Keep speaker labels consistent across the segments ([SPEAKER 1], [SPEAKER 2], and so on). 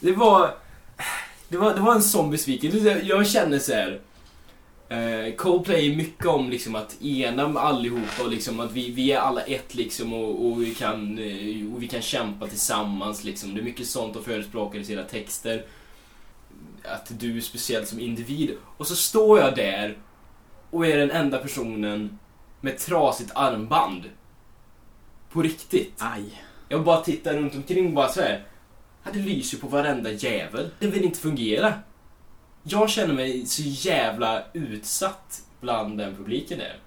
[SPEAKER 1] Det var... Det var, det var en sån besvikelse. Jag känner så här... eh, Coldplay är mycket om liksom att ena allihopa och liksom att vi, vi är alla ett liksom och, och, vi kan, eh, och vi kan kämpa tillsammans liksom. Det är mycket sånt de förespråkar i sina texter. Att du är speciell som individ. Och så står jag där och är den enda personen med trasigt armband. På riktigt.
[SPEAKER 2] Aj.
[SPEAKER 1] Jag bara tittar runt omkring och bara så här. Ja, Det lyser på varenda jävel. Det vill inte fungera. Jag känner mig så jävla utsatt bland den publiken där.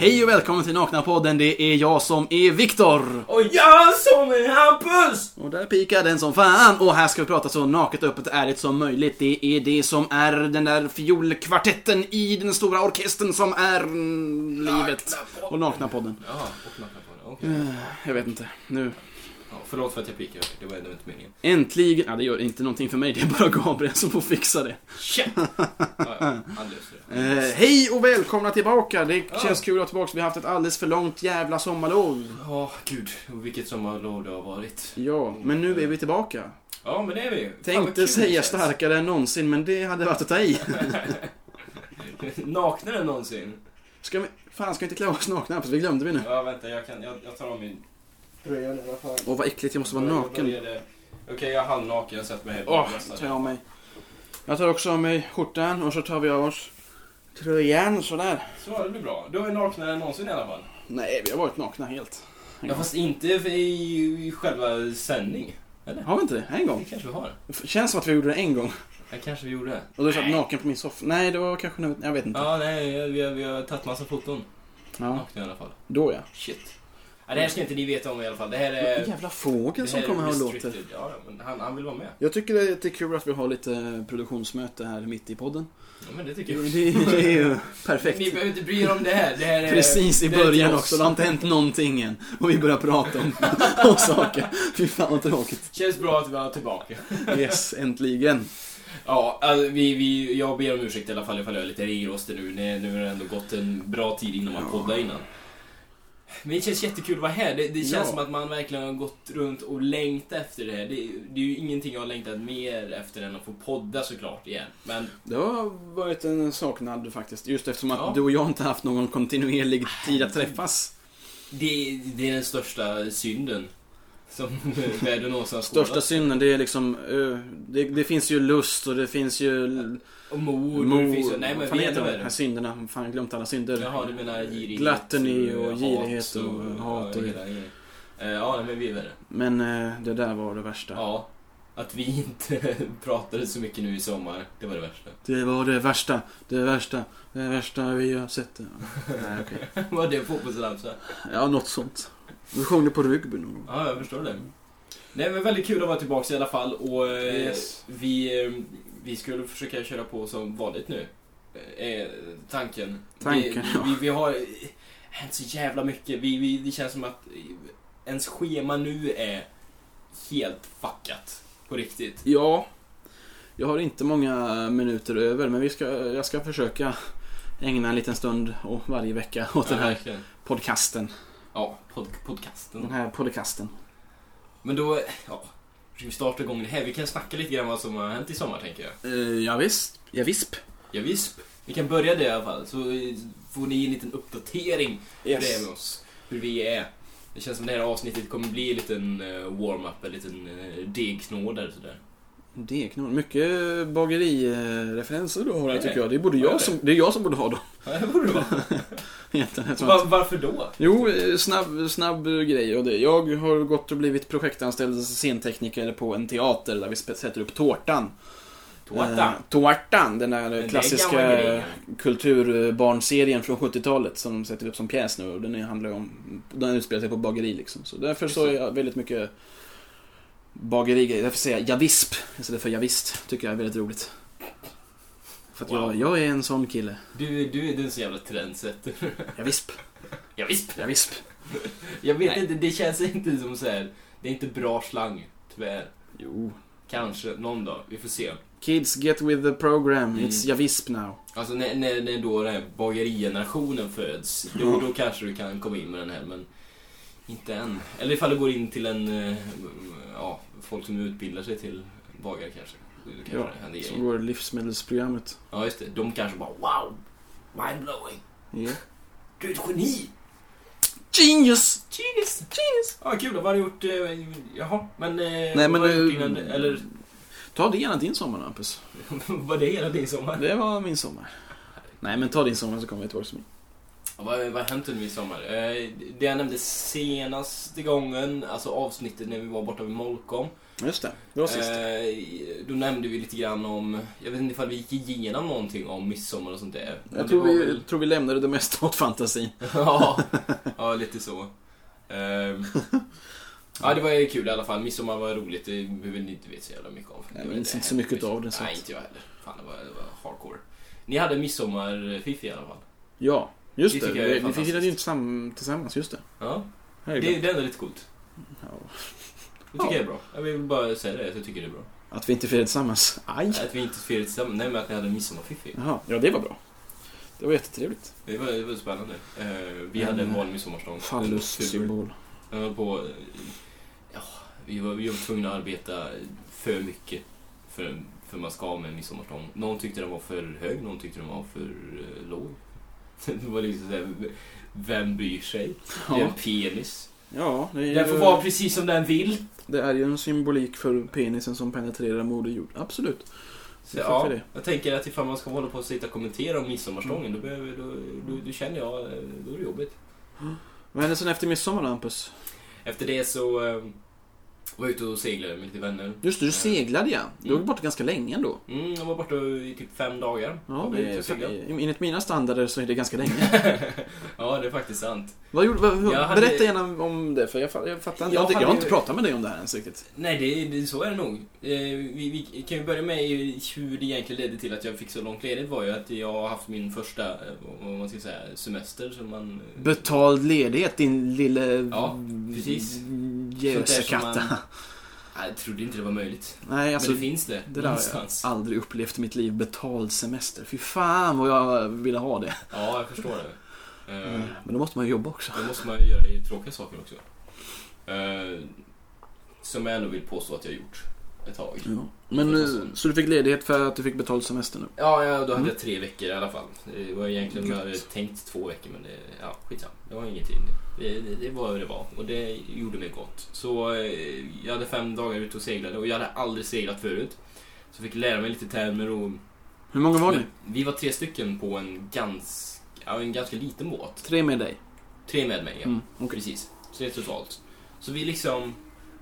[SPEAKER 2] Hej och välkommen till Nakna-podden. Det är jag som är Viktor.
[SPEAKER 1] Och jag som är Hampus!
[SPEAKER 2] Och där pikar den som fan. Och här ska vi prata så naket, öppet och ärligt som möjligt. Det är det som är den där fiolkvartetten i den stora orkestern som är mm, livet.
[SPEAKER 1] Nakna-podden.
[SPEAKER 2] Mm. Och Nakna-podden. Eh,
[SPEAKER 1] Jaha, och knackar på den. Okej.
[SPEAKER 2] Jag vet inte. Nu.
[SPEAKER 1] Ja, förlåt för att jag pikar. Det var ändå inte meningen.
[SPEAKER 2] Äntligen. Ja, det gör inte någonting för mig. Det är bara Gabriel som får fixa det.
[SPEAKER 1] Shit! Ja, ja, han löser det.
[SPEAKER 2] Eh, hej och välkomna tillbaka! Det
[SPEAKER 1] Ja.
[SPEAKER 2] känns kul att vara tillbaka. Vi har haft ett alldeles för långt jävla sommarlov.
[SPEAKER 1] Ja, gud. Vilket sommarlov det har varit.
[SPEAKER 2] Ja, men nu är vi tillbaka.
[SPEAKER 1] Ja, men det är vi ju. Fan, vad kul
[SPEAKER 2] Tänkte
[SPEAKER 1] det
[SPEAKER 2] säga
[SPEAKER 1] känns.
[SPEAKER 2] starkare än någonsin, men det hade varit att ta i.
[SPEAKER 1] Naknare än någonsin.
[SPEAKER 2] Ska vi... Fan, ska vi inte klä oss nakna? Vi glömde vi nu.
[SPEAKER 1] Ja, vänta. Jag, kan, jag, jag tar av min tröja nu. Vad fan.
[SPEAKER 2] Åh, vad äckligt. Jag måste vara
[SPEAKER 1] Började-
[SPEAKER 2] naken.
[SPEAKER 1] började- Okej, jag är halvnaken. Jag sätter mig här.
[SPEAKER 2] Åh,
[SPEAKER 1] Nästa.
[SPEAKER 2] tar jag av mig. Jag tar också av mig skjortan och så tar vi av oss tröjan sådär.
[SPEAKER 1] Så, det blir bra. Då är vi naknare än någonsin i alla fall.
[SPEAKER 2] Nej, vi har varit nakna helt.
[SPEAKER 1] Ja, fast inte i, i själva sändning.
[SPEAKER 2] Har vi inte det? En
[SPEAKER 1] Det
[SPEAKER 2] gång?
[SPEAKER 1] kanske vi har.
[SPEAKER 2] Känns som att vi gjorde det en gång.
[SPEAKER 1] Det kanske vi gjorde.
[SPEAKER 2] Och då satt jag naken på min soffa. Nej, det var kanske nu. Jag vet inte.
[SPEAKER 1] Ja, nej, vi har, vi har tagit massa foton.
[SPEAKER 2] Ja,
[SPEAKER 1] Nakna i alla fall.
[SPEAKER 2] då ja.
[SPEAKER 1] Shit. Ja, det här ska inte ni veta om i alla fall. Det här är...
[SPEAKER 2] En jävla fågel
[SPEAKER 1] Eh, det
[SPEAKER 2] som
[SPEAKER 1] här
[SPEAKER 2] kommer här och låter.
[SPEAKER 1] restricted. Ja, men han, han vill vara med.
[SPEAKER 2] Jag tycker det är kul att vi har lite produktionsmöte här mitt i podden.
[SPEAKER 1] Ja, men det tycker
[SPEAKER 2] Det,
[SPEAKER 1] jag.
[SPEAKER 2] det är ju perfekt.
[SPEAKER 1] Ni behöver inte bry er om det här. Det här är...
[SPEAKER 2] Precis i
[SPEAKER 1] det här är till
[SPEAKER 2] början
[SPEAKER 1] oss.
[SPEAKER 2] också, Eh, det har inte hänt någonting än. Och vi börjar prata om, om saker. Fy fan vad tråkigt.
[SPEAKER 1] Känns bra att vi är tillbaka.
[SPEAKER 2] Yes, äntligen.
[SPEAKER 1] Ja, alltså, vi, vi, jag ber om ursäkt i alla fall ifall jag är lite ringrostig nu. Det, nu har det ändå gått en bra tid innan man poddade innan. Men det känns jättekul att vara här. Det, det känns
[SPEAKER 2] Ja.
[SPEAKER 1] som att man verkligen har gått runt och längtat efter det här. Det, det är ju ingenting jag har längtat mer efter än att få podda såklart igen. Men
[SPEAKER 2] Det har varit en saknad faktiskt. Just eftersom att
[SPEAKER 1] Ja.
[SPEAKER 2] du och jag inte haft någon kontinuerlig tid att träffas.
[SPEAKER 1] det, det är den största synden som världen någonsin har
[SPEAKER 2] Största
[SPEAKER 1] skådat.
[SPEAKER 2] synden, det är liksom... eh, Det, det finns ju lust och det finns ju...
[SPEAKER 1] Och mord. och det
[SPEAKER 2] mord.
[SPEAKER 1] finns, ju- nej men
[SPEAKER 2] fan
[SPEAKER 1] vi är
[SPEAKER 2] heter de här
[SPEAKER 1] värre.
[SPEAKER 2] synderna? Fan, jag har glömt alla synder.
[SPEAKER 1] Jaha, du menar girighet.
[SPEAKER 2] Gluttony och
[SPEAKER 1] hat
[SPEAKER 2] girighet och hat
[SPEAKER 1] Ja,
[SPEAKER 2] och-
[SPEAKER 1] hela grejen. Eh, ja, nej, men vi är värre.
[SPEAKER 2] Men eh, det där var det värsta.
[SPEAKER 1] Ja, att vi inte pratade så mycket nu i sommar, det var det värsta.
[SPEAKER 2] Det var det värsta, det värsta, det värsta vi har sett. Nej, okej.
[SPEAKER 1] Var det fotbollsramsa?
[SPEAKER 2] Ja, något sånt. Vi sjöng på rugby någon gång.
[SPEAKER 1] Ja, jag förstår det. Nej men väldigt kul att vara tillbaka i alla fall och eh,
[SPEAKER 2] Yes.
[SPEAKER 1] vi, eh, vi skulle försöka köra på som vanligt nu. Eh, tanken.
[SPEAKER 2] Tanken,
[SPEAKER 1] vi,
[SPEAKER 2] ja.
[SPEAKER 1] vi, vi har eh, hänt så jävla mycket. Vi, vi, det känns som att eh, ens schema nu är helt fuckat. På riktigt.
[SPEAKER 2] Ja, jag har inte många minuter över, men vi ska, jag ska försöka ägna en liten stund och varje vecka åt den
[SPEAKER 1] Ja,
[SPEAKER 2] här
[SPEAKER 1] verkligen.
[SPEAKER 2] podcasten.
[SPEAKER 1] Ja, pod, podcasten.
[SPEAKER 2] Den här podcasten.
[SPEAKER 1] Men då, ja. Ska vi starta igång det här? Vi kan snacka lite grann vad som har hänt i sommar tänker jag.
[SPEAKER 2] Uh, ja, visst. Ja, visp.
[SPEAKER 1] Ja, visst. Vi kan börja det i alla fall, så eh, får ni en liten uppdatering hur det är med oss. Hur vi är. Det känns som det här avsnittet kommer bli en liten eh, warm-up, en liten uh, degknådare sådär.
[SPEAKER 2] Det är knorr. Mycket bagerireferenser du har här
[SPEAKER 1] Nej.
[SPEAKER 2] tycker jag. Det är, både
[SPEAKER 1] Ja, det är
[SPEAKER 2] jag som, det är jag som borde ha dem.
[SPEAKER 1] Ja, det borde det vara.
[SPEAKER 2] egentligen, eftersom
[SPEAKER 1] Va-
[SPEAKER 2] att-
[SPEAKER 1] Varför då?
[SPEAKER 2] Jo, eh, snabb, snabb grej och det. Jag har gått och blivit projektanställd scentekniker på en teater där vi spe- sätter upp Tårtan. Eh,
[SPEAKER 1] Tårta.
[SPEAKER 2] tårtan, den där
[SPEAKER 1] det är en gammal grej,
[SPEAKER 2] klassiska
[SPEAKER 1] ja.
[SPEAKER 2] kulturbarnserien från 70-talet som de sätter upp som pjäs nu och den är- handlar ju om, den utspelar sig på bageri liksom. Så därför så är jag väldigt mycket bagerigrejer. Därför säger jag javisp istället för javist. Tycker jag är väldigt roligt. För att
[SPEAKER 1] Wow.
[SPEAKER 2] jag, jag är en sån kille.
[SPEAKER 1] Du, du är den så jävla trendsetter.
[SPEAKER 2] Javisp,
[SPEAKER 1] ja, visst.
[SPEAKER 2] javisp.
[SPEAKER 1] Jag vet
[SPEAKER 2] Nej.
[SPEAKER 1] inte, det känns inte som så här. det är inte bra slang, tyvärr.
[SPEAKER 2] Jo,
[SPEAKER 1] Kanske, någon dag. Vi får se.
[SPEAKER 2] Kids get with the program,
[SPEAKER 1] Mm.
[SPEAKER 2] it's Javisp now.
[SPEAKER 1] Alltså när, när, när då den här bagerigenerationen föds, då, då kanske du kan komma in med den här men inte än. Eller ifall du går in till en, eh, ja, folk som utbildar sig till bagare kanske. Då kanske
[SPEAKER 2] Ja,
[SPEAKER 1] det händer
[SPEAKER 2] Som
[SPEAKER 1] grejer.
[SPEAKER 2] går livsmedelsprogrammet.
[SPEAKER 1] Ja just det, de kanske bara wow, mindblowing,
[SPEAKER 2] Yeah.
[SPEAKER 1] du är ett geni!
[SPEAKER 2] Genius!
[SPEAKER 1] Genius! Genius! Ja kul, vad har du gjort? eh, Jaha, men... eh,
[SPEAKER 2] Nej, men
[SPEAKER 1] vad har du gjort
[SPEAKER 2] nu-
[SPEAKER 1] innan, det- eller
[SPEAKER 2] Ta det gärna din sommar Hampus.
[SPEAKER 1] var det hela din sommar?
[SPEAKER 2] Det var min sommar. Nej men ta din sommar så kommer vi tillbaka till min.
[SPEAKER 1] Ja, Vad, vad har hänt under min sommar? Eh, Det jag nämnde senaste gången, alltså avsnittet när vi var borta vid Molkom.
[SPEAKER 2] Just det, det var sist.
[SPEAKER 1] Eh, då nämnde vi lite grann om, jag vet inte ifall vi gick igenom någonting om midsommar och sånt där. Men
[SPEAKER 2] jag
[SPEAKER 1] det
[SPEAKER 2] tror
[SPEAKER 1] var
[SPEAKER 2] vi,
[SPEAKER 1] väl-
[SPEAKER 2] tror vi lämnade det mesta åt fantasin.
[SPEAKER 1] ja, ja, lite så. Ehm, ja, det var ju kul i alla fall. Midsommar var roligt, det behöver ni inte veta så jävla mycket om.
[SPEAKER 2] Jag
[SPEAKER 1] Det var
[SPEAKER 2] minns inte så mycket
[SPEAKER 1] hemskt.
[SPEAKER 2] av det, så
[SPEAKER 1] Nej,
[SPEAKER 2] att-
[SPEAKER 1] inte jag heller. Fan, det var, det var hardcore. Ni hade midsommarfiff i alla fall.
[SPEAKER 2] Ja, just
[SPEAKER 1] Det
[SPEAKER 2] det.
[SPEAKER 1] tycker jag är
[SPEAKER 2] Vi, vi
[SPEAKER 1] fantastiskt.
[SPEAKER 2] firade ju inte sam- tillsammans, just det.
[SPEAKER 1] Ja, det,
[SPEAKER 2] Herregud.
[SPEAKER 1] det är ändå lite coolt.
[SPEAKER 2] Ja.
[SPEAKER 1] Det tycker
[SPEAKER 2] Ja.
[SPEAKER 1] jag är bra. Jag vill bara säga det, att jag tycker det är bra.
[SPEAKER 2] Att vi inte firade tillsammans. Aj!
[SPEAKER 1] Att vi inte firade tillsammans, nej men att ni hade midsommarfiff ju.
[SPEAKER 2] Jaha, ja det var bra. Det var jättetrevligt.
[SPEAKER 1] Det var, det var spännande. Eh, vi
[SPEAKER 2] Men-
[SPEAKER 1] hade en vanlig midsommarstång.
[SPEAKER 2] Fallus-symbol.
[SPEAKER 1] Den var på... eh, Ja, vi var, vi var tvungna att arbeta för mycket för, för man ska ha med en midsommarstång. Någon tyckte den var för hög, någon tyckte den var för eh, låg. Det var liksom såhär, vem bryr sig? Det är en
[SPEAKER 2] Ja,
[SPEAKER 1] penis.
[SPEAKER 2] ja det, är
[SPEAKER 1] Den får
[SPEAKER 2] ju,
[SPEAKER 1] vara precis som den vill.
[SPEAKER 2] det är ju en symbolik för penisen som penetrerar Moder Jord. Absolut.
[SPEAKER 1] Så,
[SPEAKER 2] Jag fattar
[SPEAKER 1] ja,
[SPEAKER 2] det.
[SPEAKER 1] jag tänker att ifall man ska hålla på och sitta och kommentera om midsommarstången,
[SPEAKER 2] Mm.
[SPEAKER 1] då, behöver, då, då, då känner jag, eh, då är det jobbigt.
[SPEAKER 2] Vad hände sen efter midsommar då, Hampus?
[SPEAKER 1] Efter det så eh, var jag ute och seglade med lite vänner.
[SPEAKER 2] Just det, du
[SPEAKER 1] Eh,
[SPEAKER 2] seglade ja. Du
[SPEAKER 1] Mm.
[SPEAKER 2] var borta ganska länge ändå.
[SPEAKER 1] Mm, jag var borta i typ fem dagar.
[SPEAKER 2] Ja,
[SPEAKER 1] Var vi
[SPEAKER 2] det
[SPEAKER 1] ute och
[SPEAKER 2] är,
[SPEAKER 1] seglade.
[SPEAKER 2] enligt mina standarder så är det ganska länge.
[SPEAKER 1] ja, det är faktiskt sant.
[SPEAKER 2] Vad gjorde, vad, hur-
[SPEAKER 1] Jag hade-
[SPEAKER 2] Berätta gärna om det, för jag, fa- jag fattar inte. Jag,
[SPEAKER 1] Jag
[SPEAKER 2] har inte- jag har
[SPEAKER 1] hade-
[SPEAKER 2] inte pratat med dig om det här ens riktigt.
[SPEAKER 1] Nej, det, det, så är det nog. Eh, vi, vi kan ju börja med hur det egentligen ledde till att jag fick så långt ledigt var ju att jag har haft min första, eh, vad man ska säga, semester som man... eh,
[SPEAKER 2] Betald ledighet, din lille...
[SPEAKER 1] Ja, precis. Sånt där som
[SPEAKER 2] Gösekatta.
[SPEAKER 1] Nej, Jag trodde inte det var möjligt.
[SPEAKER 2] Nej, alltså...
[SPEAKER 1] Men det finns det,
[SPEAKER 2] det där-
[SPEAKER 1] någonstans.
[SPEAKER 2] Aldrig upplevt i mitt liv betald semester. Fy fan vad jag ville ha det.
[SPEAKER 1] Ja, jag förstår det. Eh,
[SPEAKER 2] Men då måste man ju jobba också.
[SPEAKER 1] Det måste man ju göra i tråkiga saker också. Eh, som jag ändå vill påstå att jag gjort ett tag.
[SPEAKER 2] Ja. Men,
[SPEAKER 1] Det
[SPEAKER 2] eh,
[SPEAKER 1] är så.
[SPEAKER 2] så du fick ledighet för att du fick betald semester nu?
[SPEAKER 1] Ja, ja, då hade
[SPEAKER 2] Mm.
[SPEAKER 1] jag tre veckor i alla fall. Det var egentligen, jag hade
[SPEAKER 2] Gött.
[SPEAKER 1] tänkt två veckor men det, ja, skitsamma. Det var ingenting. Det, det, det var hur det var och det gjorde mig gott. Så eh, jag hade fem dagar ute och seglade och jag hade aldrig seglat förut. Så fick lära mig lite termer och...
[SPEAKER 2] Hur många var ni?
[SPEAKER 1] Men Vi var tre stycken på en ganska, ja, en ganska liten båt.
[SPEAKER 2] Tre med dig?
[SPEAKER 1] Tre med mig, ja.
[SPEAKER 2] Mm, okej.
[SPEAKER 1] Precis. Så det är totalt. Så vi liksom,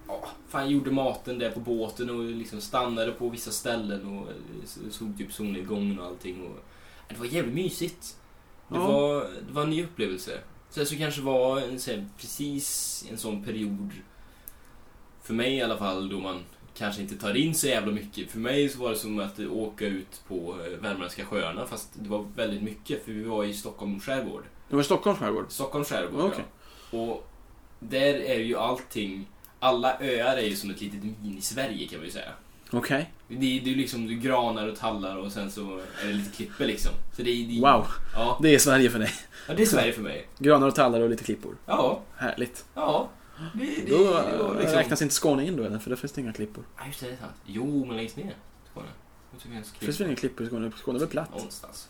[SPEAKER 1] ja, fan gjorde maten där på båten och liksom stannade på vissa ställen och eh, såg typ solnedgången och allting. Och, ja, det var jävligt mysigt. Det,
[SPEAKER 2] Ja.
[SPEAKER 1] var, det var en ny upplevelse. Sen så kanske var en, så här, precis en sån period, för mig i alla fall, då man kanske inte tar in så jävla mycket. För mig så var det som att eh, åka ut på eh, Värmländska sjöarna fast det var väldigt mycket för vi var i Stockholms skärgård.
[SPEAKER 2] Det var i Stockholms skärgård?
[SPEAKER 1] Stockholms skärgård,
[SPEAKER 2] Okej.
[SPEAKER 1] ja. Och där är ju allting, alla öar är ju som ett litet mini-Sverige kan man ju säga.
[SPEAKER 2] Okej.
[SPEAKER 1] Det är det är ju liksom det är granar och tallar och sen så är det lite klippor liksom. Så det, är- det, är-
[SPEAKER 2] Wow,
[SPEAKER 1] Ja.
[SPEAKER 2] det är Sverige för dig.
[SPEAKER 1] ja, det är Sverige för mig.
[SPEAKER 2] Granar och tallar och lite klippor.
[SPEAKER 1] Ja,
[SPEAKER 2] Härligt.
[SPEAKER 1] ja. Det, det,
[SPEAKER 2] Då
[SPEAKER 1] det var
[SPEAKER 2] eh, räknas inte Skåne in då eller? För där finns det inga klippor.
[SPEAKER 1] Ja, just det, det är sant. Jo, men längst ner. Skåne. Jag tycker jag ska
[SPEAKER 2] Finns det inga klippor i Skåne? Skåne är väl platt?
[SPEAKER 1] Någonstans.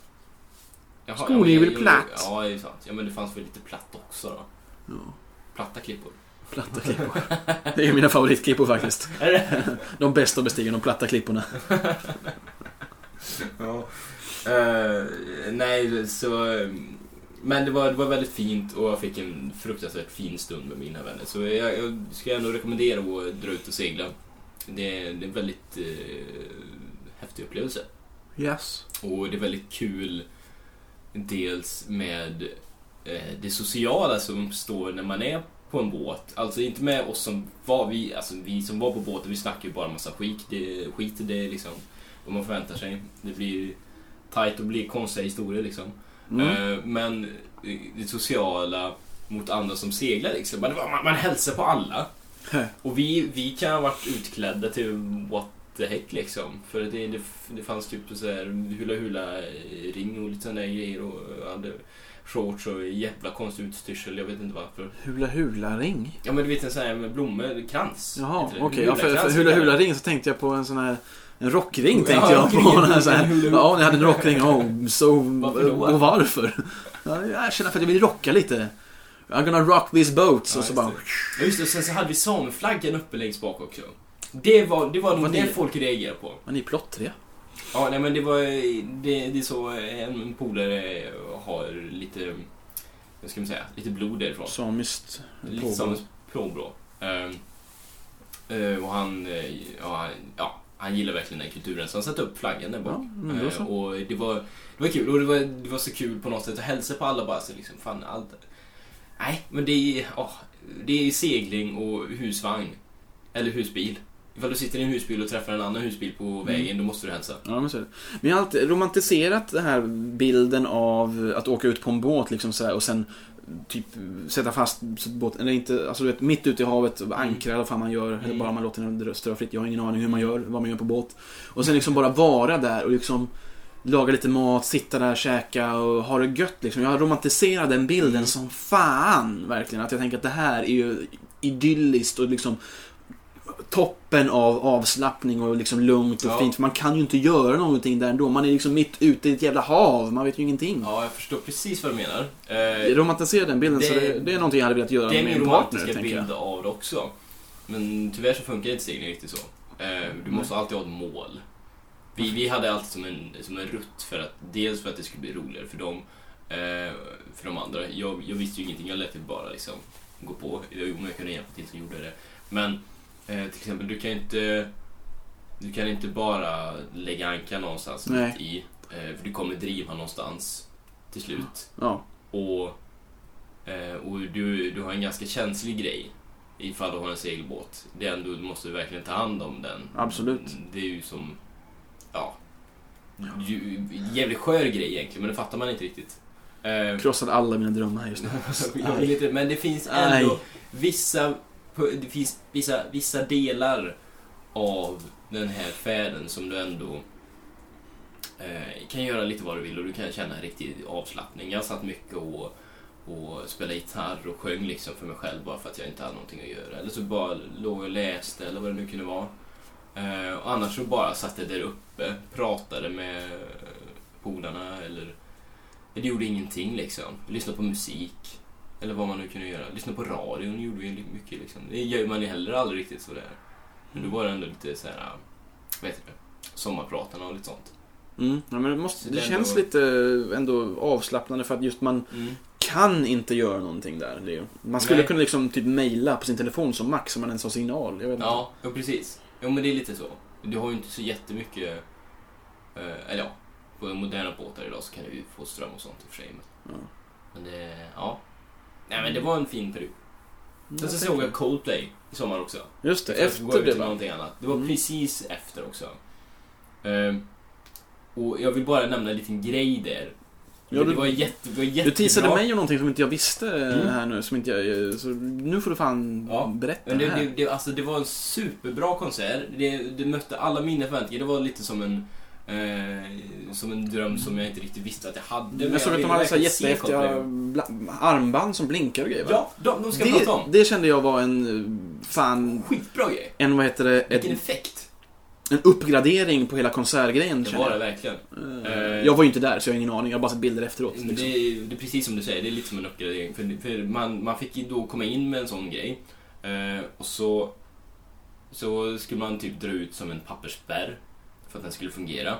[SPEAKER 1] Jaha,
[SPEAKER 2] Skåne
[SPEAKER 1] ja, men-
[SPEAKER 2] är väl
[SPEAKER 1] jo,
[SPEAKER 2] platt?
[SPEAKER 1] Ja, det är sant. Ja, men det fanns väl lite platt också då.
[SPEAKER 2] Ja.
[SPEAKER 1] Platta klippor.
[SPEAKER 2] Platta klippor. Det är mina favoritklippor faktiskt.
[SPEAKER 1] Är det
[SPEAKER 2] De bästa bestiger de platta klipporna.
[SPEAKER 1] Ja. Eh, nej, så... eh, Men det var, det var väldigt fint och jag fick en fruktansvärt fin stund med mina vänner. Så jag, jag ska ändå rekommendera att dra ut och segla. Det är, det är en väldigt eh, häftig upplevelse.
[SPEAKER 2] Yes.
[SPEAKER 1] Och det är väldigt kul dels med eh, det sociala som uppstår när man är på en båt. Alltså inte med oss som var, vi, alltså, vi som var på båten, vi snackar ju bara massa skit. Det, skit det är liksom vad man förväntar sig. Det blir tajt och blir konstiga historier liksom.
[SPEAKER 2] Mm.
[SPEAKER 1] Eh, Men eh, det sociala mot andra som seglar liksom. Man, man, man hälsar på alla.
[SPEAKER 2] Hä.
[SPEAKER 1] Och vi, vi kan ha varit utklädda till what jättehäck liksom. För det, det, det fanns typ så här hula-hula-ring och lite sådana där grejer och jag hade shorts och jävla konstig utstyrsel. Jag vet inte varför.
[SPEAKER 2] Hula Hula Ring?
[SPEAKER 1] Ja men du vet en sån här med blommor, krans.
[SPEAKER 2] Jaha,
[SPEAKER 1] heter
[SPEAKER 2] okej.
[SPEAKER 1] det.
[SPEAKER 2] Ja, för,
[SPEAKER 1] Hula-krans
[SPEAKER 2] för Hula
[SPEAKER 1] heter det.
[SPEAKER 2] Hula Ring så tänkte jag på en sån här en rockring tänkte
[SPEAKER 1] Ja,
[SPEAKER 2] jag på.
[SPEAKER 1] rockring.
[SPEAKER 2] Den här, så här,
[SPEAKER 1] Hula-
[SPEAKER 2] ja, ni hade en rockring. Oh, so,
[SPEAKER 1] Varför då?
[SPEAKER 2] och varför? Ja, jag känner för att jag vill rocka lite. I'm gonna rock this boat.
[SPEAKER 1] Ja,
[SPEAKER 2] och så
[SPEAKER 1] just
[SPEAKER 2] bara...
[SPEAKER 1] Ja just det, och sen så hade vi sameflaggan uppe längst bak också. Det var, det var
[SPEAKER 2] Vad
[SPEAKER 1] nog
[SPEAKER 2] det
[SPEAKER 1] det
[SPEAKER 2] är.
[SPEAKER 1] folk reagerade på.
[SPEAKER 2] Men ni är plottriga.
[SPEAKER 1] Ja, nej men det var det, det är så en polare har lite, vad ska man säga, lite blod därifrån.
[SPEAKER 2] Samiskt.
[SPEAKER 1] Lite
[SPEAKER 2] påbrå.
[SPEAKER 1] som påbrå. Liksom Ehm, eh, och han, eh, ja, han- ja, han gillar verkligen den kulturen så han satte upp flaggan där bak.
[SPEAKER 2] Ja, men då
[SPEAKER 1] Eh,
[SPEAKER 2] så.
[SPEAKER 1] Och det var, det var kul och det var, det var så kul på något sätt att hälsa på alla bara så liksom, fan allt. Nej, men det är, ja, det är segling och husvagn. Eller husbil. Ifall du sitter i en husbil och träffar en annan husbil på
[SPEAKER 2] Mm.
[SPEAKER 1] vägen, då måste du hälsa.
[SPEAKER 2] Ja, men så är det. Men jag har alltid romantiserat den här bilden av att åka ut på en båt liksom så här, och sen typ sätta fast båten, eller inte, alltså du vet mitt ute i havet, ankra eller vad fan man gör, eller
[SPEAKER 1] Mm.
[SPEAKER 2] bara man låter den dra- ströa fritt. Jag har ingen aning hur man gör, vad man gör på båt. Och sen liksom bara vara där och liksom laga lite mat, sitta där, käka och ha det gött liksom. Jag har romantiserat den bilden
[SPEAKER 1] Mm.
[SPEAKER 2] som fan verkligen. Att jag tänker att det här är ju idylliskt och liksom toppen av avslappning och liksom lugnt och
[SPEAKER 1] Ja.
[SPEAKER 2] fint. För man kan ju inte göra någonting där ändå. Man är liksom mitt ute i ett jävla hav. Man vet ju ingenting.
[SPEAKER 1] Ja, jag förstår precis vad du menar.
[SPEAKER 2] Jag
[SPEAKER 1] Eh,
[SPEAKER 2] romantiserar den bilden så
[SPEAKER 1] Det-
[SPEAKER 2] det, det är någonting jag hade velat göra
[SPEAKER 1] det är
[SPEAKER 2] med
[SPEAKER 1] min
[SPEAKER 2] min partner,
[SPEAKER 1] romantiska
[SPEAKER 2] tänker jag.
[SPEAKER 1] bild av det också. Men tyvärr så funkar inte segling riktigt så. Eh, du måste alltid ha ett mål. Vi, vi hade alltid som en, som en rutt, för att, dels för att det skulle bli roligare för dem, eh, för de andra. Jag, jag visste ju ingenting, jag lät det bara liksom gå på. Om jag kunde hjälpa till så gjorde jag det. Men eh, till exempel, du kan ju inte, du kan inte bara lägga anka någonstans
[SPEAKER 2] Nej.
[SPEAKER 1] mitt i. Eh, för du kommer driva någonstans till slut.
[SPEAKER 2] Ja.
[SPEAKER 1] Och, eh, och du, du har en ganska känslig grej ifall du har en segelbåt. Det är ändå, du måste verkligen ta hand om den.
[SPEAKER 2] Absolut.
[SPEAKER 1] Det är ju som, ja, ju, jävligt skör grej egentligen, men det fattar man inte riktigt. Eh,
[SPEAKER 2] Krossade alla mina drömmar just nu.
[SPEAKER 1] jag vill inte, men det finns
[SPEAKER 2] Aj.
[SPEAKER 1] ändå vissa, det finns vissa, vissa delar av den här färden som du ändå eh, kan göra lite vad du vill och du kan känna en riktig avslappning. Jag satt mycket och, och spelade gitarr och sjöng liksom för mig själv bara för att jag inte hade någonting att göra. Eller så bara låg och läste eller vad det nu kunde vara. Eh, och annars så bara satt jag där uppe, pratade med eh, polarna eller det gjorde ingenting liksom. Lyssna på musik. Eller vad man nu kunde göra. Lyssna på radion gjorde vi mycket liksom. Det gör man ju heller aldrig riktigt sådär. Men då var det ändå lite såhär, vad heter det? Sommarpratarna och lite sånt.
[SPEAKER 2] Mm. Ja, men det, måste,
[SPEAKER 1] Det
[SPEAKER 2] det
[SPEAKER 1] är
[SPEAKER 2] känns
[SPEAKER 1] ändå-
[SPEAKER 2] lite eh, ändå avslappnande för att just man
[SPEAKER 1] Mm.
[SPEAKER 2] kan inte göra någonting där. Det är ju- Man skulle
[SPEAKER 1] Nej.
[SPEAKER 2] kunna liksom typ mejla på sin telefon som max som man ens har signal. Jag vet inte.
[SPEAKER 1] Ja, ja, precis. Jo men det är lite så. Du har ju inte så jättemycket, eh, eller ja, på moderna båtar idag så kan du ju få ström och sånt i och för sig. Men,
[SPEAKER 2] Ja.
[SPEAKER 1] men det, ja. Nej men det var en fin period.
[SPEAKER 2] Ja,
[SPEAKER 1] Sen så
[SPEAKER 2] tänker
[SPEAKER 1] såg jag
[SPEAKER 2] jag.
[SPEAKER 1] Coldplay i sommar också.
[SPEAKER 2] Just det,
[SPEAKER 1] För att gå
[SPEAKER 2] efter
[SPEAKER 1] över
[SPEAKER 2] det
[SPEAKER 1] till
[SPEAKER 2] va?
[SPEAKER 1] någonting annat. Det var
[SPEAKER 2] Mm.
[SPEAKER 1] precis efter också. Ehm, och jag vill bara nämna en liten grej där.
[SPEAKER 2] Ja,
[SPEAKER 1] det
[SPEAKER 2] du-
[SPEAKER 1] var jätte, det var jättebra.
[SPEAKER 2] Du teasade mig om någonting som inte jag visste
[SPEAKER 1] Mm.
[SPEAKER 2] här nu. Som inte jag, så nu får du fan
[SPEAKER 1] Ja,
[SPEAKER 2] berätta
[SPEAKER 1] Men det,
[SPEAKER 2] här.
[SPEAKER 1] det, det, alltså, det var en superbra konsert. Det, det mötte alla mina förväntningar. Det var lite som en, eh, som en dröm som jag inte riktigt visste att jag hade. men
[SPEAKER 2] jag såg att
[SPEAKER 1] ville
[SPEAKER 2] de hade så här
[SPEAKER 1] verkligen se
[SPEAKER 2] jättehäftiga
[SPEAKER 1] Coldplay.
[SPEAKER 2] bla- armband som blinkar och grejer va?
[SPEAKER 1] Ja, de, de ska jag prata
[SPEAKER 2] det,
[SPEAKER 1] om.
[SPEAKER 2] det kände jag var en, eh, fan,
[SPEAKER 1] Skitbra grej.
[SPEAKER 2] en vad heter det, ett,
[SPEAKER 1] Vilken effekt.
[SPEAKER 2] en uppgradering på hela konsertgrejen
[SPEAKER 1] Det
[SPEAKER 2] kände
[SPEAKER 1] var
[SPEAKER 2] jag.
[SPEAKER 1] det verkligen.
[SPEAKER 2] Eh,
[SPEAKER 1] Eh, Mm,
[SPEAKER 2] Jag var ju inte där så jag har ingen aning, jag har bara sett bilder efteråt.
[SPEAKER 1] Men Det,
[SPEAKER 2] Liksom.
[SPEAKER 1] är- det är precis som du säger, det är lite som en uppgradering. För, för man, man fick ju då komma in med en sån grej. Eh, och så, så skulle man typ dra ut som en pappersspärr för att den skulle fungera.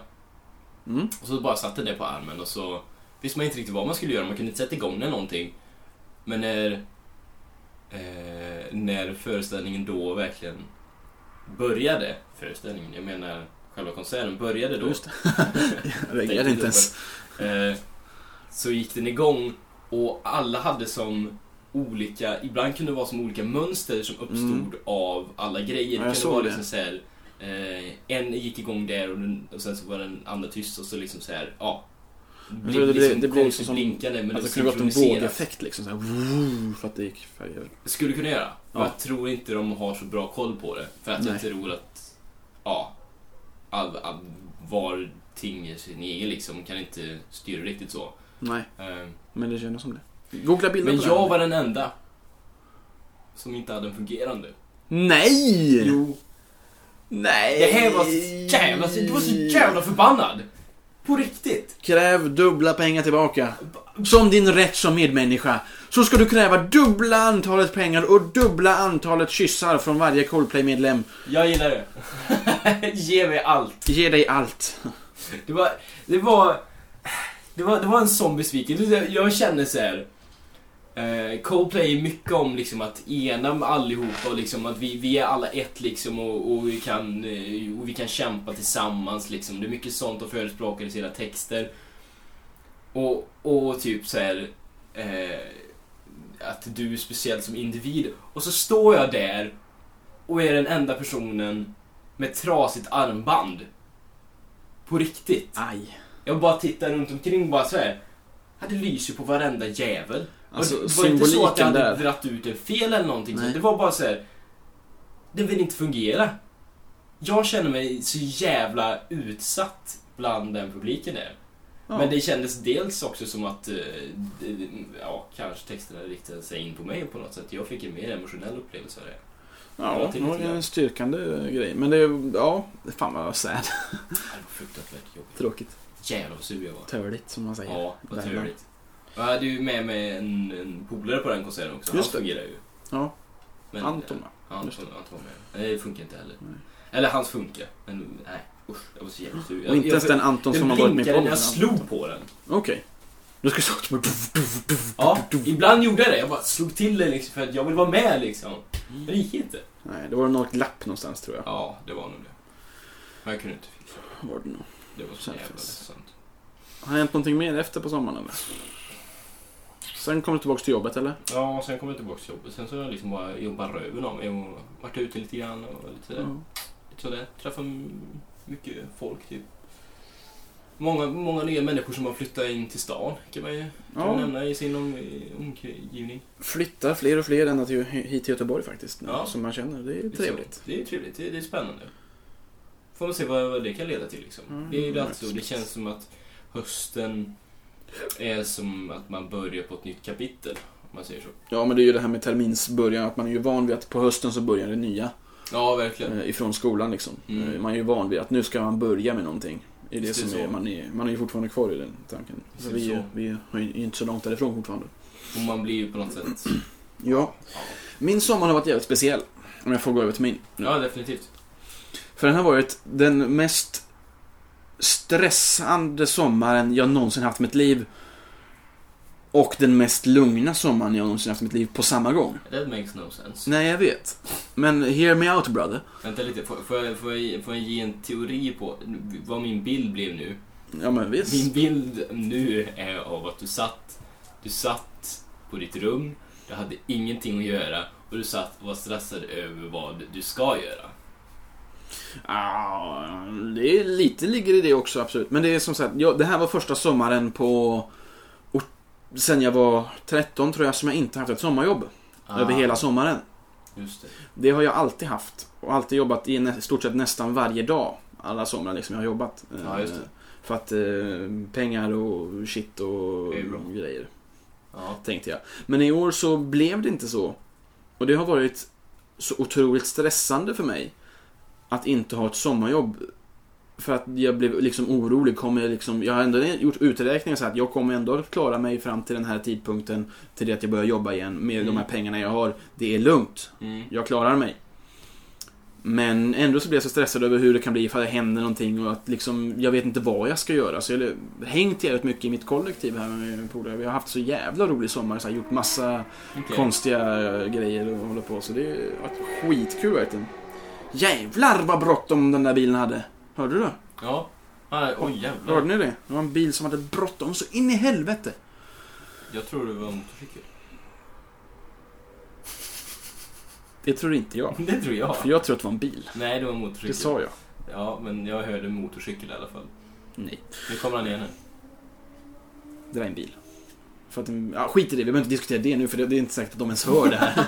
[SPEAKER 2] Mm.
[SPEAKER 1] Och så bara satte det på armen och så visste man inte riktigt vad man skulle göra, man kunde inte sätta igång den någonting. Men när, eh, när föreställningen då verkligen började, föreställningen, jag menar själva konserten började då.
[SPEAKER 2] Just det. jag reagerade inte ens.
[SPEAKER 1] Eh, så gick den igång och alla hade som olika, ibland kunde det vara som olika mönster som uppstod
[SPEAKER 2] Mm.
[SPEAKER 1] av alla grejer.
[SPEAKER 2] Ja, jag
[SPEAKER 1] det kunde
[SPEAKER 2] såg
[SPEAKER 1] vara
[SPEAKER 2] det.
[SPEAKER 1] liksom så här, eh, en gick igång där och, den, och sen så var den andra tyst och så liksom så här, ja. Det
[SPEAKER 2] det
[SPEAKER 1] blev
[SPEAKER 2] blir-
[SPEAKER 1] liksom
[SPEAKER 2] det blir
[SPEAKER 1] konstigt
[SPEAKER 2] som-
[SPEAKER 1] blinkande men
[SPEAKER 2] Alltså, det
[SPEAKER 1] det
[SPEAKER 2] kunde
[SPEAKER 1] var
[SPEAKER 2] gått en
[SPEAKER 1] synkroniserat.
[SPEAKER 2] vågeffekt liksom. Så här, woo, för att det gick färger.
[SPEAKER 1] Skulle kunna göra.
[SPEAKER 2] Ja.
[SPEAKER 1] Jag tror inte de har så bra koll på det. För att
[SPEAKER 2] Nej.
[SPEAKER 1] jag tror att, ja. all, all, var ting är sin egen liksom. Kan inte styra riktigt så.
[SPEAKER 2] Nej,
[SPEAKER 1] Eh,
[SPEAKER 2] men det kändes som det. Googla bilden
[SPEAKER 1] Men
[SPEAKER 2] på
[SPEAKER 1] jag
[SPEAKER 2] den.
[SPEAKER 1] var den enda som inte hade en fungerande.
[SPEAKER 2] Nej!
[SPEAKER 1] Jo.
[SPEAKER 2] Nej!
[SPEAKER 1] Det här var så jävla, alltså, du var så jävla förbannad. På riktigt.
[SPEAKER 2] Kräv dubbla pengar tillbaka. Som din rätt som medmänniska. Så ska du kräva dubbla antalet pengar och dubbla antalet kyssar från varje Coldplay-medlem.
[SPEAKER 1] Jag gillar det. Ge mig allt.
[SPEAKER 2] Ge dig allt.
[SPEAKER 1] Det var, det var, det var, det var en sån besvikelse. Jag känner så här. eh, Coldplay är mycket om liksom att ena allihopa och liksom att vi, vi är alla ett liksom och, och, vi kan, eh, och vi kan kämpa tillsammans liksom. Det är mycket sånt de förespråkar i sina texter. Och, och typ så här eh, att du är speciell som individ. Och så står jag där och är den enda personen med trasigt armband. På riktigt.
[SPEAKER 2] Aj.
[SPEAKER 1] Jag bara tittar runt omkring och bara så här. Hade lyser på varenda jävel. Och
[SPEAKER 2] Alltså,
[SPEAKER 1] det var inte så
[SPEAKER 2] symboliken
[SPEAKER 1] att jag hade
[SPEAKER 2] där.
[SPEAKER 1] dratt ut en fel eller någonting. Så
[SPEAKER 2] Nej.
[SPEAKER 1] det var bara så här. Det vill inte fungera. Jag känner mig så jävla utsatt bland den publiken där.
[SPEAKER 2] Ja.
[SPEAKER 1] Men det kändes dels också som att eh, det- ja, kanske texterna riktade sig in på mig på något sätt. Jag fick en mer emotionell upplevelse av det.
[SPEAKER 2] Ja,
[SPEAKER 1] Jag
[SPEAKER 2] det
[SPEAKER 1] tycker
[SPEAKER 2] var
[SPEAKER 1] inte det.
[SPEAKER 2] en styrkande grej. Men det, ja, fan vad sad.
[SPEAKER 1] Det var fruktansvärt jobbigt.
[SPEAKER 2] Tråkigt.
[SPEAKER 1] Jävlar vad sur jag var.
[SPEAKER 2] Törligt, som man säger.
[SPEAKER 1] Ja, vad
[SPEAKER 2] Värmland.
[SPEAKER 1] trevligt. Jag hade ju med mig en, en polare på den konserten också.
[SPEAKER 2] Just det.
[SPEAKER 1] han fungerar ju.
[SPEAKER 2] Ja.
[SPEAKER 1] Men,
[SPEAKER 2] Anton, va?
[SPEAKER 1] Ja,
[SPEAKER 2] Just
[SPEAKER 1] Anton, Anton med. Nej, det funkar inte heller.
[SPEAKER 2] Nej.
[SPEAKER 1] Eller hans funkar. Men nej, usch. Jag var så jävla sur.
[SPEAKER 2] Och inte ens den Anton som har varit med på
[SPEAKER 1] blinkade när
[SPEAKER 2] den.
[SPEAKER 1] jag slog på den.
[SPEAKER 2] Okej. Nu ska jag stå som
[SPEAKER 1] Ja, ibland gjorde jag det. Jag bara slog till den liksom för att jag vill vara med liksom. Men det gick inte.
[SPEAKER 2] Nej, det var något glapp någonstans tror jag.
[SPEAKER 1] Ja, det var nog det. Men jag kunde inte fixa det.
[SPEAKER 2] Var det nog.
[SPEAKER 1] Det var så
[SPEAKER 2] Sen
[SPEAKER 1] jävla
[SPEAKER 2] finns-
[SPEAKER 1] ledsamt.
[SPEAKER 2] Har det hänt någonting mer efter på sommaren eller? Sen kom du tillbaka till jobbet eller?
[SPEAKER 1] Ja, och sen kom jag tillbaka till jobbet. Sen så har jag liksom bara jobbat röven av mig och varit ute lite grann och lite sådär.
[SPEAKER 2] Ja.
[SPEAKER 1] sådär. Träffar m- mycket folk typ. Många, många nya människor som har flyttat in till stan kan man ju kan man
[SPEAKER 2] ja.
[SPEAKER 1] nämna i sin om, i- omgivning.
[SPEAKER 2] Flyttar fler och fler ända till, hit till Göteborg faktiskt. nu,
[SPEAKER 1] Ja.
[SPEAKER 2] Som man känner. Det är trevligt.
[SPEAKER 1] Det är trevligt, det är, det är spännande. Får man se vad, vad det kan leda till liksom.
[SPEAKER 2] Mm,
[SPEAKER 1] det är ju
[SPEAKER 2] absolut.
[SPEAKER 1] alltid så, det känns som att hösten är som att man börjar på ett nytt kapitel. Om man säger så.
[SPEAKER 2] Ja, men det är ju det här med terminsbörjan. Att man är ju van vid att på hösten så börjar det nya.
[SPEAKER 1] Ja, verkligen.
[SPEAKER 2] eh, Ifrån skolan liksom.
[SPEAKER 1] Mm.
[SPEAKER 2] Eh, Man är ju van vid att nu ska man börja med någonting. Det är det
[SPEAKER 1] Precis
[SPEAKER 2] som är,
[SPEAKER 1] så.
[SPEAKER 2] man, är, man är ju fortfarande kvar i den tanken. Så
[SPEAKER 1] Precis
[SPEAKER 2] vi,
[SPEAKER 1] så.
[SPEAKER 2] vi är ju inte så långt därifrån fortfarande.
[SPEAKER 1] Och man blir ju på något sätt...
[SPEAKER 2] Ja. Min sommar har varit jävligt speciell. Om jag får gå över till min. nu.
[SPEAKER 1] Ja, definitivt.
[SPEAKER 2] För den har varit den mest stressande sommaren jag någonsin haft i mitt liv. Och den mest lugna sommaren jag någonsin haft i mitt liv på samma gång.
[SPEAKER 1] That makes no sense.
[SPEAKER 2] Nej, jag vet. Men hear me out brother.
[SPEAKER 1] Vänta lite, får, får, jag, får, jag, får jag ge en teori på vad min bild blev nu?
[SPEAKER 2] Ja
[SPEAKER 1] Min
[SPEAKER 2] men visst.
[SPEAKER 1] bild nu är av att du satt, du satt på ditt rum, du hade ingenting att göra och du satt och var stressad över vad du ska göra.
[SPEAKER 2] Ah, det är lite ligger i det också absolut. Men det är som sagt, jag, det här var första sommaren på... Och, sen jag var 13 tror jag som jag inte haft ett sommarjobb.
[SPEAKER 1] Ah.
[SPEAKER 2] Över hela sommaren.
[SPEAKER 1] Just det.
[SPEAKER 2] Det har jag alltid haft. Och alltid jobbat i nä- stort sett nästan varje dag. Alla somrar liksom jag har jobbat. Eh,
[SPEAKER 1] Ja, just det.
[SPEAKER 2] För att eh, pengar och shit och
[SPEAKER 1] Det är bra.
[SPEAKER 2] grejer.
[SPEAKER 1] Ja.
[SPEAKER 2] Tänkte jag. Men i år så blev det inte så. Och det har varit så otroligt stressande för mig. Att inte ha ett sommarjobb. För att jag blev liksom orolig. Kommer jag, liksom, jag har ändå gjort uträkningar så att jag kommer ändå att klara mig fram till den här tidpunkten. Till det att jag börjar jobba igen med
[SPEAKER 1] Mm.
[SPEAKER 2] de här pengarna jag har. Det är lugnt.
[SPEAKER 1] Mm.
[SPEAKER 2] Jag klarar mig. Men ändå så blir jag så stressad över hur det kan bli ifall det händer någonting och att liksom, jag vet inte vad jag ska göra. Så jag har hängt jävligt mycket i mitt kollektiv här med min polare. Vi har haft så jävla rolig sommar, så här, gjort massa
[SPEAKER 1] Okej.
[SPEAKER 2] konstiga eh, grejer och håller på. Så det har varit skitkul verkligen. Jävlar vad bråttom den där bilen hade! Hörde du det?
[SPEAKER 1] Ja. Ah, oj
[SPEAKER 2] Hörde
[SPEAKER 1] jävlar.
[SPEAKER 2] ni det? Det var en bil som hade bråttom så in i helvete!
[SPEAKER 1] Jag tror det var en motorcykel.
[SPEAKER 2] Det tror inte jag.
[SPEAKER 1] Det tror jag.
[SPEAKER 2] För jag tror att det var en bil.
[SPEAKER 1] Nej, det var en
[SPEAKER 2] Det
[SPEAKER 1] motorcykel.
[SPEAKER 2] sa jag.
[SPEAKER 1] Ja, men jag hörde motorcykel i alla fall.
[SPEAKER 2] Nej.
[SPEAKER 1] Nu kommer han igen här.
[SPEAKER 2] Det var en bil. För att, den- ja, skit i det, vi behöver inte diskutera det nu för det, det är inte säkert att de ens hör det här.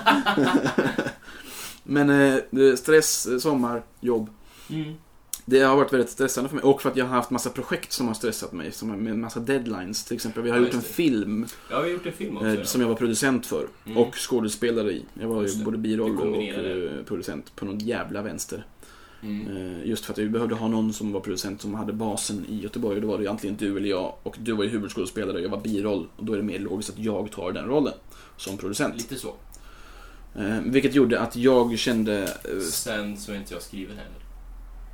[SPEAKER 2] Men eh, stress, eh, sommar, jobb.
[SPEAKER 1] Mm.
[SPEAKER 2] Det har varit väldigt stressande för mig och för att jag har haft massa projekt som har stressat mig. Som har- med massa deadlines. Till exempel, vi har
[SPEAKER 1] Ja,
[SPEAKER 2] gjort en
[SPEAKER 1] just det.
[SPEAKER 2] film
[SPEAKER 1] Jag har ju gjort en film också.
[SPEAKER 2] eh,
[SPEAKER 1] ja.
[SPEAKER 2] som jag var producent för
[SPEAKER 1] Mm.
[SPEAKER 2] och skådespelare i. Jag var
[SPEAKER 1] Just
[SPEAKER 2] ju
[SPEAKER 1] det.
[SPEAKER 2] både biroll
[SPEAKER 1] Du
[SPEAKER 2] och
[SPEAKER 1] kombinerade.
[SPEAKER 2] eh, producent på någon jävla vänster.
[SPEAKER 1] Mm.
[SPEAKER 2] Eh, Just för att vi behövde ha någon som var producent som hade basen i Göteborg och då var det ju antingen du eller jag och du var ju huvudskådespelare och jag var biroll och då är det mer logiskt att jag tar den rollen som producent.
[SPEAKER 1] Lite så.
[SPEAKER 2] Eh, Vilket gjorde att jag kände... eh,
[SPEAKER 1] Sen så är inte jag skriven heller.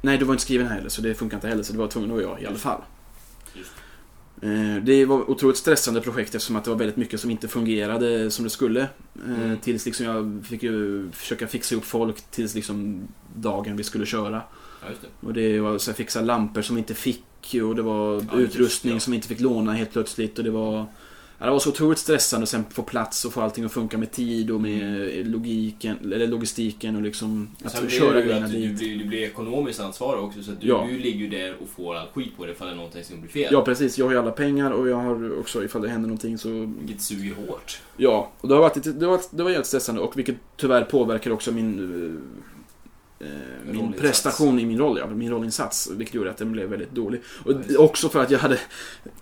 [SPEAKER 2] Nej, du var inte skriven här heller så det funkar inte heller så det var tvungen att vara jag i alla fall.
[SPEAKER 1] Just.
[SPEAKER 2] Eh, Det var otroligt stressande projekt eftersom att det var väldigt mycket som inte fungerade som det skulle. Eh,
[SPEAKER 1] Mm.
[SPEAKER 2] Tills liksom jag fick ju försöka fixa ihop folk tills liksom dagen vi skulle köra.
[SPEAKER 1] Ja, just det.
[SPEAKER 2] Och det var så här, fixa lampor som inte fick och det var
[SPEAKER 1] just det,
[SPEAKER 2] utrustning
[SPEAKER 1] ja.
[SPEAKER 2] som inte fick låna helt plötsligt och det var... Ja, det var så otroligt stressande och sen få plats och få allting att funka med tid och med logiken, eller logistiken och liksom att
[SPEAKER 1] Mm. Sen blir
[SPEAKER 2] köra
[SPEAKER 1] det ju
[SPEAKER 2] grejerna
[SPEAKER 1] att du,
[SPEAKER 2] dit.
[SPEAKER 1] blir, du blir ekonomiskt ansvarig också så att du,
[SPEAKER 2] Ja.
[SPEAKER 1] du ligger ju där och får all skit på det ifall det är någonting som blir fel.
[SPEAKER 2] Ja precis, jag har ju alla pengar och jag har också ifall det händer någonting så...
[SPEAKER 1] Vilket suger hårt.
[SPEAKER 2] Ja, och det har varit, lite- det var, det var jävligt stressande och vilket tyvärr påverkar också min... eh, Eh, min
[SPEAKER 1] Rollinsats.
[SPEAKER 2] prestation i min roll, ja, min rollinsats. Vilket gjorde att den blev väldigt dålig. Och
[SPEAKER 1] Ja, just det.
[SPEAKER 2] också för att jag hade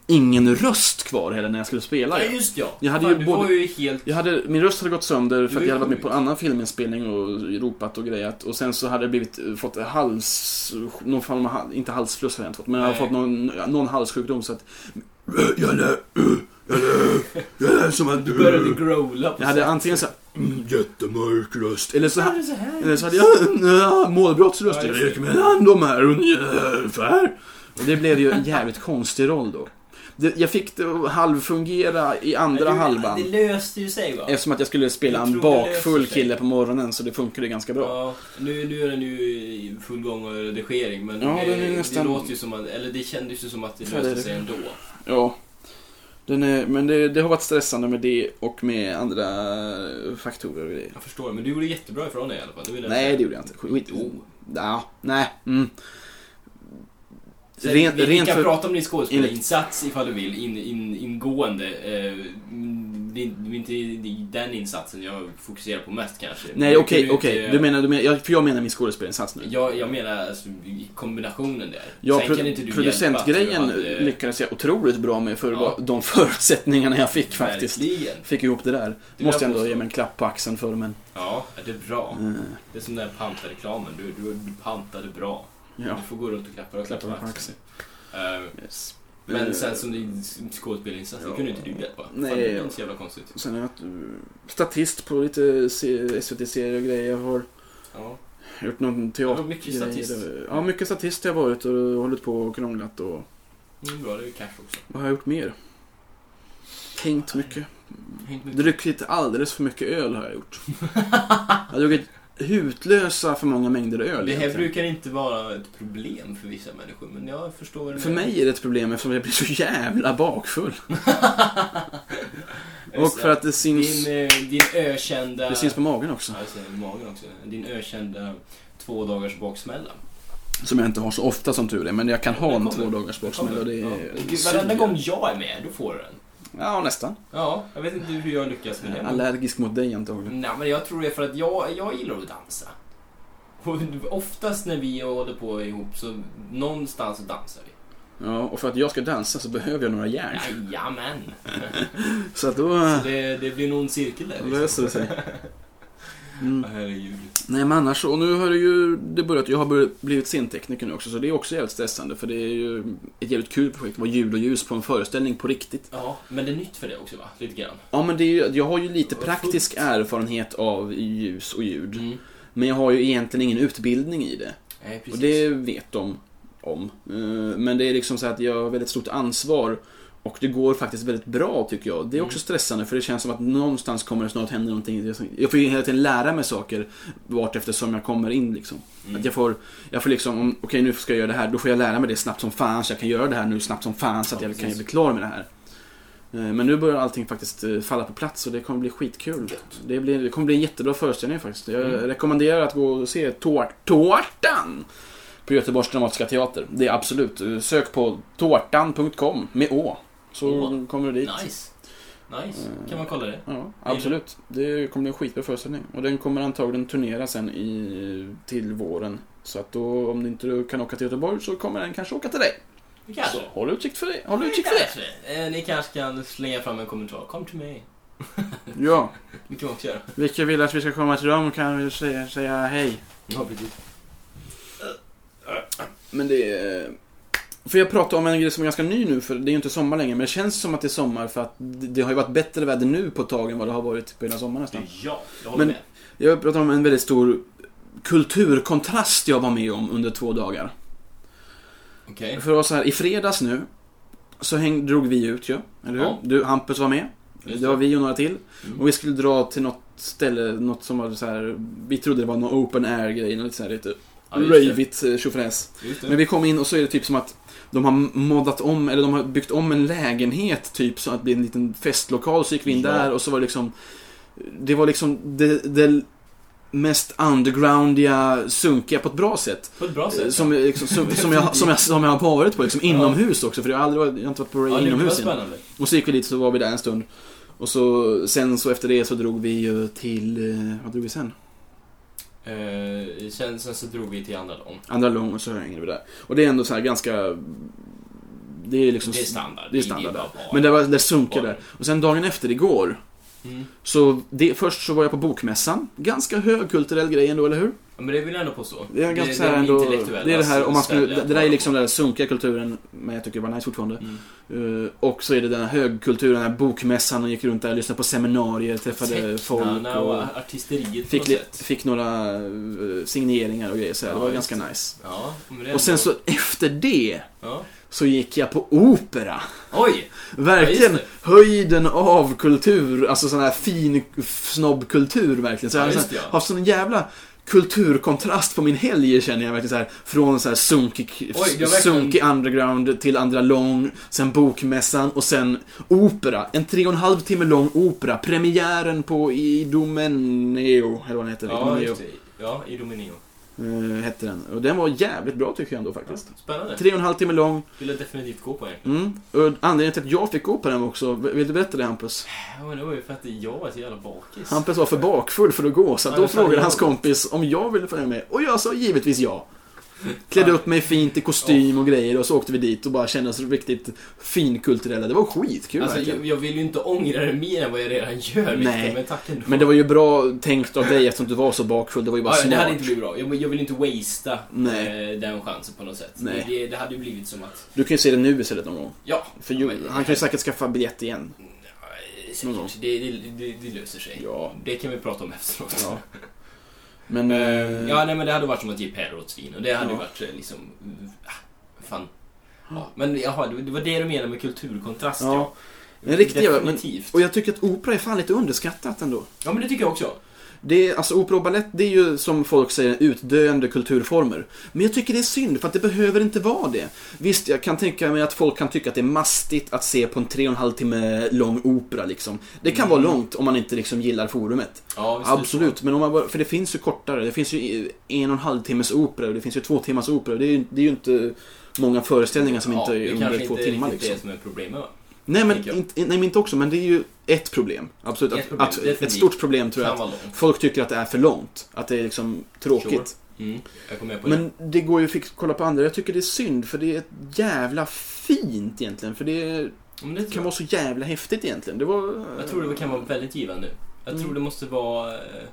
[SPEAKER 2] ingen röst kvar heller när jag skulle spela.
[SPEAKER 1] Ja, just ja.
[SPEAKER 2] Jag hade
[SPEAKER 1] Fan,
[SPEAKER 2] ju
[SPEAKER 1] du
[SPEAKER 2] både-
[SPEAKER 1] var ju helt...
[SPEAKER 2] Jag hade, min röst hade gått sönder för
[SPEAKER 1] var
[SPEAKER 2] att
[SPEAKER 1] ju
[SPEAKER 2] jag hade varit med
[SPEAKER 1] sjuk.
[SPEAKER 2] på en annan filminspelning och ropat och grejat. Och sen så hade jag blivit, eh, fått hals... Någon form av, hal- inte halsfluss hade jag inte fått, men jag hade
[SPEAKER 1] Nej.
[SPEAKER 2] fått någon, någon halssjukdom så att... Jag lät, jag lät, jag lät som att
[SPEAKER 1] Du började growla på
[SPEAKER 2] Jag hade
[SPEAKER 1] sätt.
[SPEAKER 2] antingen så här, "Mm, jättemörk röst, eller så,
[SPEAKER 1] Ja,
[SPEAKER 2] här-
[SPEAKER 1] det är så här.
[SPEAKER 2] eller så hade jag "Ja, målbrottsröst.
[SPEAKER 1] Ja,
[SPEAKER 2] Jag
[SPEAKER 1] just
[SPEAKER 2] gick
[SPEAKER 1] det.
[SPEAKER 2] mellan de här ungefär. Och det blev ju en jävligt konstig roll då. Det, jag fick det att halvfungera i andra
[SPEAKER 1] Men du-
[SPEAKER 2] halvan.
[SPEAKER 1] Det löste ju sig va?
[SPEAKER 2] Eftersom att jag skulle spela
[SPEAKER 1] Jag
[SPEAKER 2] en
[SPEAKER 1] tror det
[SPEAKER 2] bakfull
[SPEAKER 1] löser sig.
[SPEAKER 2] kille på morgonen så det funkade ganska bra.
[SPEAKER 1] Ja, nu, nu är den ju i full gång med redigering men
[SPEAKER 2] Ja,
[SPEAKER 1] det,
[SPEAKER 2] den är nästan-
[SPEAKER 1] det låter ju som att, eller det kändes ju som att det
[SPEAKER 2] För
[SPEAKER 1] löste
[SPEAKER 2] det-
[SPEAKER 1] sig ändå.
[SPEAKER 2] Ja. Den är, men det, det har varit stressande med det och med andra faktorer och grejer.
[SPEAKER 1] Jag förstår, men du gjorde jättebra ifrån dig i alla fall. Det vill jag
[SPEAKER 2] Nej,
[SPEAKER 1] säga.
[SPEAKER 2] det gjorde jag inte. Skit.
[SPEAKER 1] Jo.
[SPEAKER 2] Ja, nej. Mm.
[SPEAKER 1] Sen,
[SPEAKER 2] Rent-
[SPEAKER 1] vi,
[SPEAKER 2] rent
[SPEAKER 1] vi kan
[SPEAKER 2] för-
[SPEAKER 1] prata om din skådespelarinsats ifall du vill, in, in, ingående. Eh, mm, det är det är inte den insatsen jag fokuserar på mest kanske.
[SPEAKER 2] Nej,
[SPEAKER 1] Men
[SPEAKER 2] okej,
[SPEAKER 1] kan ju
[SPEAKER 2] okej.
[SPEAKER 1] inte-
[SPEAKER 2] Du menar, du menar, jag- för jag menar min skådespelarinsats nu.
[SPEAKER 1] Jag, jag menar alltså, i kombinationen där.
[SPEAKER 2] Ja,
[SPEAKER 1] Sen
[SPEAKER 2] pro-
[SPEAKER 1] kan inte du
[SPEAKER 2] producentgrejen
[SPEAKER 1] hjälpa att du hade-
[SPEAKER 2] lyckades jag otroligt bra med för
[SPEAKER 1] Ja.
[SPEAKER 2] vad- de förutsättningarna jag fick faktiskt.
[SPEAKER 1] Verkligen.
[SPEAKER 2] Fick ihop det där.
[SPEAKER 1] Det
[SPEAKER 2] Måste
[SPEAKER 1] vill jag
[SPEAKER 2] jag ändå
[SPEAKER 1] påstå.
[SPEAKER 2] ge mig en klapp på axeln för men...
[SPEAKER 1] Ja, det är bra.
[SPEAKER 2] eh,
[SPEAKER 1] Det är som den här pantreklamen. Du, du, du pantade bra.
[SPEAKER 2] Ja.
[SPEAKER 1] Du får gå runt och klappa och
[SPEAKER 2] Klappa
[SPEAKER 1] klappa
[SPEAKER 2] på axeln.
[SPEAKER 1] Eh,
[SPEAKER 2] Yes.
[SPEAKER 1] Men
[SPEAKER 2] Eh,
[SPEAKER 1] sen som din skådespelarinsats, det kunde inte du hjälpa. Fan,
[SPEAKER 2] Nej.
[SPEAKER 1] Det är inte så jävla konstigt.
[SPEAKER 2] Sen är jag eh, statist på lite se- SVT-serier och grejer. Jag har
[SPEAKER 1] Ja.
[SPEAKER 2] gjort någon teater.
[SPEAKER 1] Det var mycket statist.
[SPEAKER 2] Ja, mycket statist har jag varit och hållit på och krånglat och...
[SPEAKER 1] Det är bra, det är ju cash också.
[SPEAKER 2] Vad har jag gjort mer? Tänkt mycket. Mm.
[SPEAKER 1] Hängt mycket.
[SPEAKER 2] Druckit alldeles för mycket öl har jag gjort. jag har druckit hutlösa för många mängder öl.
[SPEAKER 1] Det här
[SPEAKER 2] egentligen.
[SPEAKER 1] brukar inte vara ett problem för vissa människor, men jag förstår vad du
[SPEAKER 2] För
[SPEAKER 1] menar.
[SPEAKER 2] mig är det ett problem eftersom jag blir så jävla bakfull. Och
[SPEAKER 1] Just det.
[SPEAKER 2] för att det syns,
[SPEAKER 1] Din, eh, din ökända...
[SPEAKER 2] det syns på magen också.
[SPEAKER 1] Ja, just det, magen också. Din ökända två dagars baksmälla.
[SPEAKER 2] Som jag inte har så ofta som tur är. Men jag kan ha
[SPEAKER 1] Det
[SPEAKER 2] en
[SPEAKER 1] kommer.
[SPEAKER 2] två dagars baksmälla och det
[SPEAKER 1] Ja.
[SPEAKER 2] är...
[SPEAKER 1] Gud, Varenda gång jag är med, då får du den.
[SPEAKER 2] Ja, nästan.
[SPEAKER 1] Ja, jag vet inte hur jag lyckas med det. men-
[SPEAKER 2] Allergisk mot dig antagligen.
[SPEAKER 1] Nej, men jag tror det är för att jag, jag gillar att dansa. Och oftast när vi håller på ihop så någonstans så dansar vi.
[SPEAKER 2] Ja, och för att jag ska dansa så behöver jag några järn.
[SPEAKER 1] Jajamän!
[SPEAKER 2] Så att då
[SPEAKER 1] Så
[SPEAKER 2] eh,
[SPEAKER 1] det, det blir nog en cirkel där. liksom.
[SPEAKER 2] löser det sig. Mm.
[SPEAKER 1] Ja, Herregud.
[SPEAKER 2] Nej men annars så, och nu har det ju det börjat, jag har börjat, blivit scentekniker nu också så det är också jävligt stressande för det är ju ett jävligt kul projekt, vara ljud och ljus på en föreställning på riktigt.
[SPEAKER 1] Ja, men det är nytt för dig också va? Lite grann.
[SPEAKER 2] Ja men det är ju, jag har ju lite
[SPEAKER 1] Vad
[SPEAKER 2] praktisk
[SPEAKER 1] fullt.
[SPEAKER 2] erfarenhet av ljus och ljud.
[SPEAKER 1] Mm.
[SPEAKER 2] Men jag har ju egentligen ingen utbildning i det.
[SPEAKER 1] Nej, precis.
[SPEAKER 2] Och det vet de om. Eh, Men det är liksom så att jag har väldigt stort ansvar och det går faktiskt väldigt bra tycker jag. Det är också
[SPEAKER 1] Mm.
[SPEAKER 2] stressande för det känns som att någonstans kommer det snart hända någonting. Jag får ju hela tiden lära mig saker vart eftersom jag kommer in liksom.
[SPEAKER 1] Mm.
[SPEAKER 2] Att jag får, jag får liksom, om, okej nu ska jag göra det här, då får jag lära mig det snabbt som fan så jag kan göra det här nu snabbt som fan så att
[SPEAKER 1] Ja,
[SPEAKER 2] jag kan
[SPEAKER 1] precis.
[SPEAKER 2] bli klar med det här. Eh, Men nu börjar allting faktiskt eh, falla på plats och det kommer bli skitkul. Det, blir, det kommer bli en jättebra föreställning faktiskt. Jag
[SPEAKER 1] Mm.
[SPEAKER 2] rekommenderar att gå och se tår, Tårtan! På Göteborgs Dramatiska Teater. Det är absolut. Eh, Sök på tårtan.com med Å. Så
[SPEAKER 1] Å.
[SPEAKER 2] kommer du dit.
[SPEAKER 1] Nice. Nice.
[SPEAKER 2] Eh.
[SPEAKER 1] Kan man kolla det?
[SPEAKER 2] Ja, absolut. Det kommer bli en skitbra föreställning. Och den kommer antagligen turnera sen i, till våren. Så att då, om du inte du kan åka till Göteborg så kommer den kanske åka till dig.
[SPEAKER 1] Det kanske.
[SPEAKER 2] Så håll utkik för det. Håll utkik för det.
[SPEAKER 1] Kanske. Eh, Ni kanske kan slänga fram en kommentar. Kom till mig.
[SPEAKER 2] Ja.
[SPEAKER 1] Det kan man också göra.
[SPEAKER 2] Vilka vill att vi ska komma till dem kan vi säga, säga hej.
[SPEAKER 1] Ja, precis.
[SPEAKER 2] Men det är... För jag pratar om en grej som är ganska ny nu, för det är ju inte sommar längre, men det känns som att det är sommar för att det det har ju varit bättre väder nu på ett tag än vad det har varit på hela sommaren nästan.
[SPEAKER 1] Ja, jag håller
[SPEAKER 2] Men-
[SPEAKER 1] med.
[SPEAKER 2] Jag pratar om en väldigt stor kulturkontrast jag var med om under två dagar.
[SPEAKER 1] Okej.
[SPEAKER 2] För det var så här, i fredags nu så häng, drog vi ut ju, eller hur?
[SPEAKER 1] Ja.
[SPEAKER 2] Du, Hampus var med.
[SPEAKER 1] Just
[SPEAKER 2] Det var vi och några till.
[SPEAKER 1] Mm.
[SPEAKER 2] Och vi skulle dra till något ställe, något som var så här, vi trodde det var någon open air-grej, något så här lite
[SPEAKER 1] Ja, just det.
[SPEAKER 2] röjvigt eh, tjofräs.
[SPEAKER 1] Just det.
[SPEAKER 2] Men vi kom in och så är det typ som att de har moddat om, eller de har byggt om en lägenhet typ så att det blir en liten festlokal. Så gick vi in
[SPEAKER 1] Ja.
[SPEAKER 2] där och så var det liksom Det var liksom det, det mest undergroundiga, sunkiga på ett bra sätt.
[SPEAKER 1] På ett bra
[SPEAKER 2] Eh,
[SPEAKER 1] sätt.
[SPEAKER 2] Som, jag- liksom, som, som, jag, som, jag, som jag har varit på, liksom inomhus också. För jag har aldrig varit, jag har inte varit på rave
[SPEAKER 1] ja, det var
[SPEAKER 2] inomhus innan.
[SPEAKER 1] spännande.
[SPEAKER 2] Och så gick vi dit så var vi där en stund. Och så, sen så efter det så drog vi ju till, eh, vad drog vi sen?
[SPEAKER 1] Eh, sen, sen så drog vi till andra dagen.
[SPEAKER 2] Andra lång och så hängde vi där. Och det är ändå så här ganska... Det är liksom...
[SPEAKER 1] Det är standard.
[SPEAKER 2] Det är standard
[SPEAKER 1] bara
[SPEAKER 2] där.
[SPEAKER 1] bar.
[SPEAKER 2] Men det, var, det sunkar
[SPEAKER 1] Bar.
[SPEAKER 2] där. Och sen dagen efter, igår.
[SPEAKER 1] Mm.
[SPEAKER 2] Så det, först så var jag på bokmässan. Ganska högkulturell grej ändå, eller hur?
[SPEAKER 1] Ja, Men det vill jag ändå påstå.
[SPEAKER 2] Det är ganska så
[SPEAKER 1] det
[SPEAKER 2] här
[SPEAKER 1] de
[SPEAKER 2] ändå...
[SPEAKER 1] intellektuella
[SPEAKER 2] Det är det här, om man skulle,
[SPEAKER 1] ställe att
[SPEAKER 2] det där är
[SPEAKER 1] vara
[SPEAKER 2] liksom
[SPEAKER 1] på.
[SPEAKER 2] den där sunkiga kulturen, men jag tycker det var nice fortfarande.
[SPEAKER 1] Mm.
[SPEAKER 2] Eh, och så är det den här högkulturen, den här bokmässan och gick runt där, lyssnade på seminarier, träffade folk
[SPEAKER 1] Tecknarna
[SPEAKER 2] och...
[SPEAKER 1] och artisteriet
[SPEAKER 2] Fick,
[SPEAKER 1] på
[SPEAKER 2] li-
[SPEAKER 1] något sätt.
[SPEAKER 2] fick några eh, signeringar och grejer så här.
[SPEAKER 1] Ja,
[SPEAKER 2] Det var
[SPEAKER 1] just
[SPEAKER 2] ganska nice.
[SPEAKER 1] Ja, men det är
[SPEAKER 2] Och sen
[SPEAKER 1] ändå-
[SPEAKER 2] så efter det
[SPEAKER 1] Ja.
[SPEAKER 2] så gick jag på opera.
[SPEAKER 1] Oj!
[SPEAKER 2] Verkligen
[SPEAKER 1] Ja, just
[SPEAKER 2] höjden av kultur, alltså sån här fin f- snobbkultur verkligen. Så jag
[SPEAKER 1] Ja,
[SPEAKER 2] har
[SPEAKER 1] just
[SPEAKER 2] sån-
[SPEAKER 1] det, ja.
[SPEAKER 2] haft sån jävla kulturkontrast på min helg känner jag verkligen så här Från så här sunkig,
[SPEAKER 1] Oj, det var verkligen-
[SPEAKER 2] sunkig underground till andra lång, sen bokmässan och sen opera. En tre och en halv timme lång opera. Premiären på Idomeneo, eller vad den heter.
[SPEAKER 1] Ja,
[SPEAKER 2] Idomeneo,
[SPEAKER 1] just det. Ja, i Dominio.
[SPEAKER 2] eh, hette den. Och den var jävligt bra tycker jag ändå faktiskt.
[SPEAKER 1] Spännande.
[SPEAKER 2] Tre och en halv timme lång.
[SPEAKER 1] Vill jag definitivt gå på egentligen.
[SPEAKER 2] Mm. Och anledningen till att jag fick gå på den också, vill du berätta det Hampus?
[SPEAKER 1] Ja, men det var ju för att jag var så jävla bakis.
[SPEAKER 2] Hampus var för bakfull för att gå, så att
[SPEAKER 1] Ja,
[SPEAKER 2] då
[SPEAKER 1] det sa
[SPEAKER 2] frågade
[SPEAKER 1] jag.
[SPEAKER 2] hans kompis om jag ville följa med. Och jag sa givetvis ja. Klädde upp mig fint i kostym och grejer och så åkte vi dit och bara kände oss riktigt finkulturella. Det var skitkul
[SPEAKER 1] Alltså,
[SPEAKER 2] verkligen.
[SPEAKER 1] jag, jag vill ju inte ångra det mer än vad jag redan gör,
[SPEAKER 2] Nej.
[SPEAKER 1] Victor, men tack ändå.
[SPEAKER 2] Men det var ju bra tänkt av dig eftersom du var så bakfull. Det var ju bara
[SPEAKER 1] ja, det
[SPEAKER 2] smart.
[SPEAKER 1] hade inte blivit bra. Jag, jag vill inte wastea
[SPEAKER 2] Nej.
[SPEAKER 1] eh, den chansen på något sätt.
[SPEAKER 2] Nej.
[SPEAKER 1] Det, det hade ju blivit som att,
[SPEAKER 2] Du kan ju se det nu istället någon gång.
[SPEAKER 1] ja.
[SPEAKER 2] För
[SPEAKER 1] ja,
[SPEAKER 2] ju,
[SPEAKER 1] men-
[SPEAKER 2] han kan ju säkert skaffa biljett igen.
[SPEAKER 1] Ja,
[SPEAKER 2] Någon gång.
[SPEAKER 1] Säkert. Det, det, det, det löser sig.
[SPEAKER 2] Mm. Ja.
[SPEAKER 1] Det kan vi prata om efteråt.
[SPEAKER 2] ja. Men... eh,
[SPEAKER 1] Ja, nej men det hade varit som att ge Per åt svin och det hade
[SPEAKER 2] Ja.
[SPEAKER 1] ju varit eh, liksom... mm, ah, Fan. Ja, men jaha, det det var det du menade med kulturkontrast
[SPEAKER 2] Ja.
[SPEAKER 1] ja.
[SPEAKER 2] En riktig jävla- men-
[SPEAKER 1] Definitivt.
[SPEAKER 2] Och jag tycker att opera är fan lite underskattat ändå.
[SPEAKER 1] Ja men det tycker jag också.
[SPEAKER 2] Det är, alltså, opera och balett det är ju som folk säger utdöende kulturformer. Men jag tycker det är synd för att det behöver inte vara det. Visst, jag kan tänka mig att folk kan tycka att det är mastigt att se på en tre och en halv timme lång opera liksom. Det kan vara långt om man inte liksom gillar forumet.
[SPEAKER 1] Mm. Ja, visst är det
[SPEAKER 2] Absolut, men om man bara, för det finns ju kortare. Det finns ju en och en halv timmes opera och det finns ju två timmars opera. Det är ju, det är ju inte många föreställningar som inte
[SPEAKER 1] det
[SPEAKER 2] är
[SPEAKER 1] kanske
[SPEAKER 2] under
[SPEAKER 1] inte
[SPEAKER 2] två
[SPEAKER 1] är
[SPEAKER 2] timmar
[SPEAKER 1] riktigt
[SPEAKER 2] liksom.
[SPEAKER 1] det som är problemet va?
[SPEAKER 2] Nej, men
[SPEAKER 1] tänker jag.
[SPEAKER 2] inte, nej, men inte också, men det är ju ett problem. Absolut,
[SPEAKER 1] Ett
[SPEAKER 2] att,
[SPEAKER 1] problem,
[SPEAKER 2] att, ett
[SPEAKER 1] definitivt.
[SPEAKER 2] stort problem tror jag
[SPEAKER 1] Kan
[SPEAKER 2] att
[SPEAKER 1] vara långt.
[SPEAKER 2] Folk tycker att det är för långt, att det är liksom tråkigt.
[SPEAKER 1] Mm, jag kommer med på det.
[SPEAKER 2] Men det går ju att kolla på andra. Jag tycker det är synd, för det är ett jävla fint egentligen. För det
[SPEAKER 1] Ja, Men det tror
[SPEAKER 2] kan
[SPEAKER 1] jag.
[SPEAKER 2] vara så jävla häftigt egentligen. Det var...
[SPEAKER 1] jag tror det kan vara väldigt givande. Jag
[SPEAKER 2] Mm.
[SPEAKER 1] tror det måste vara... eh,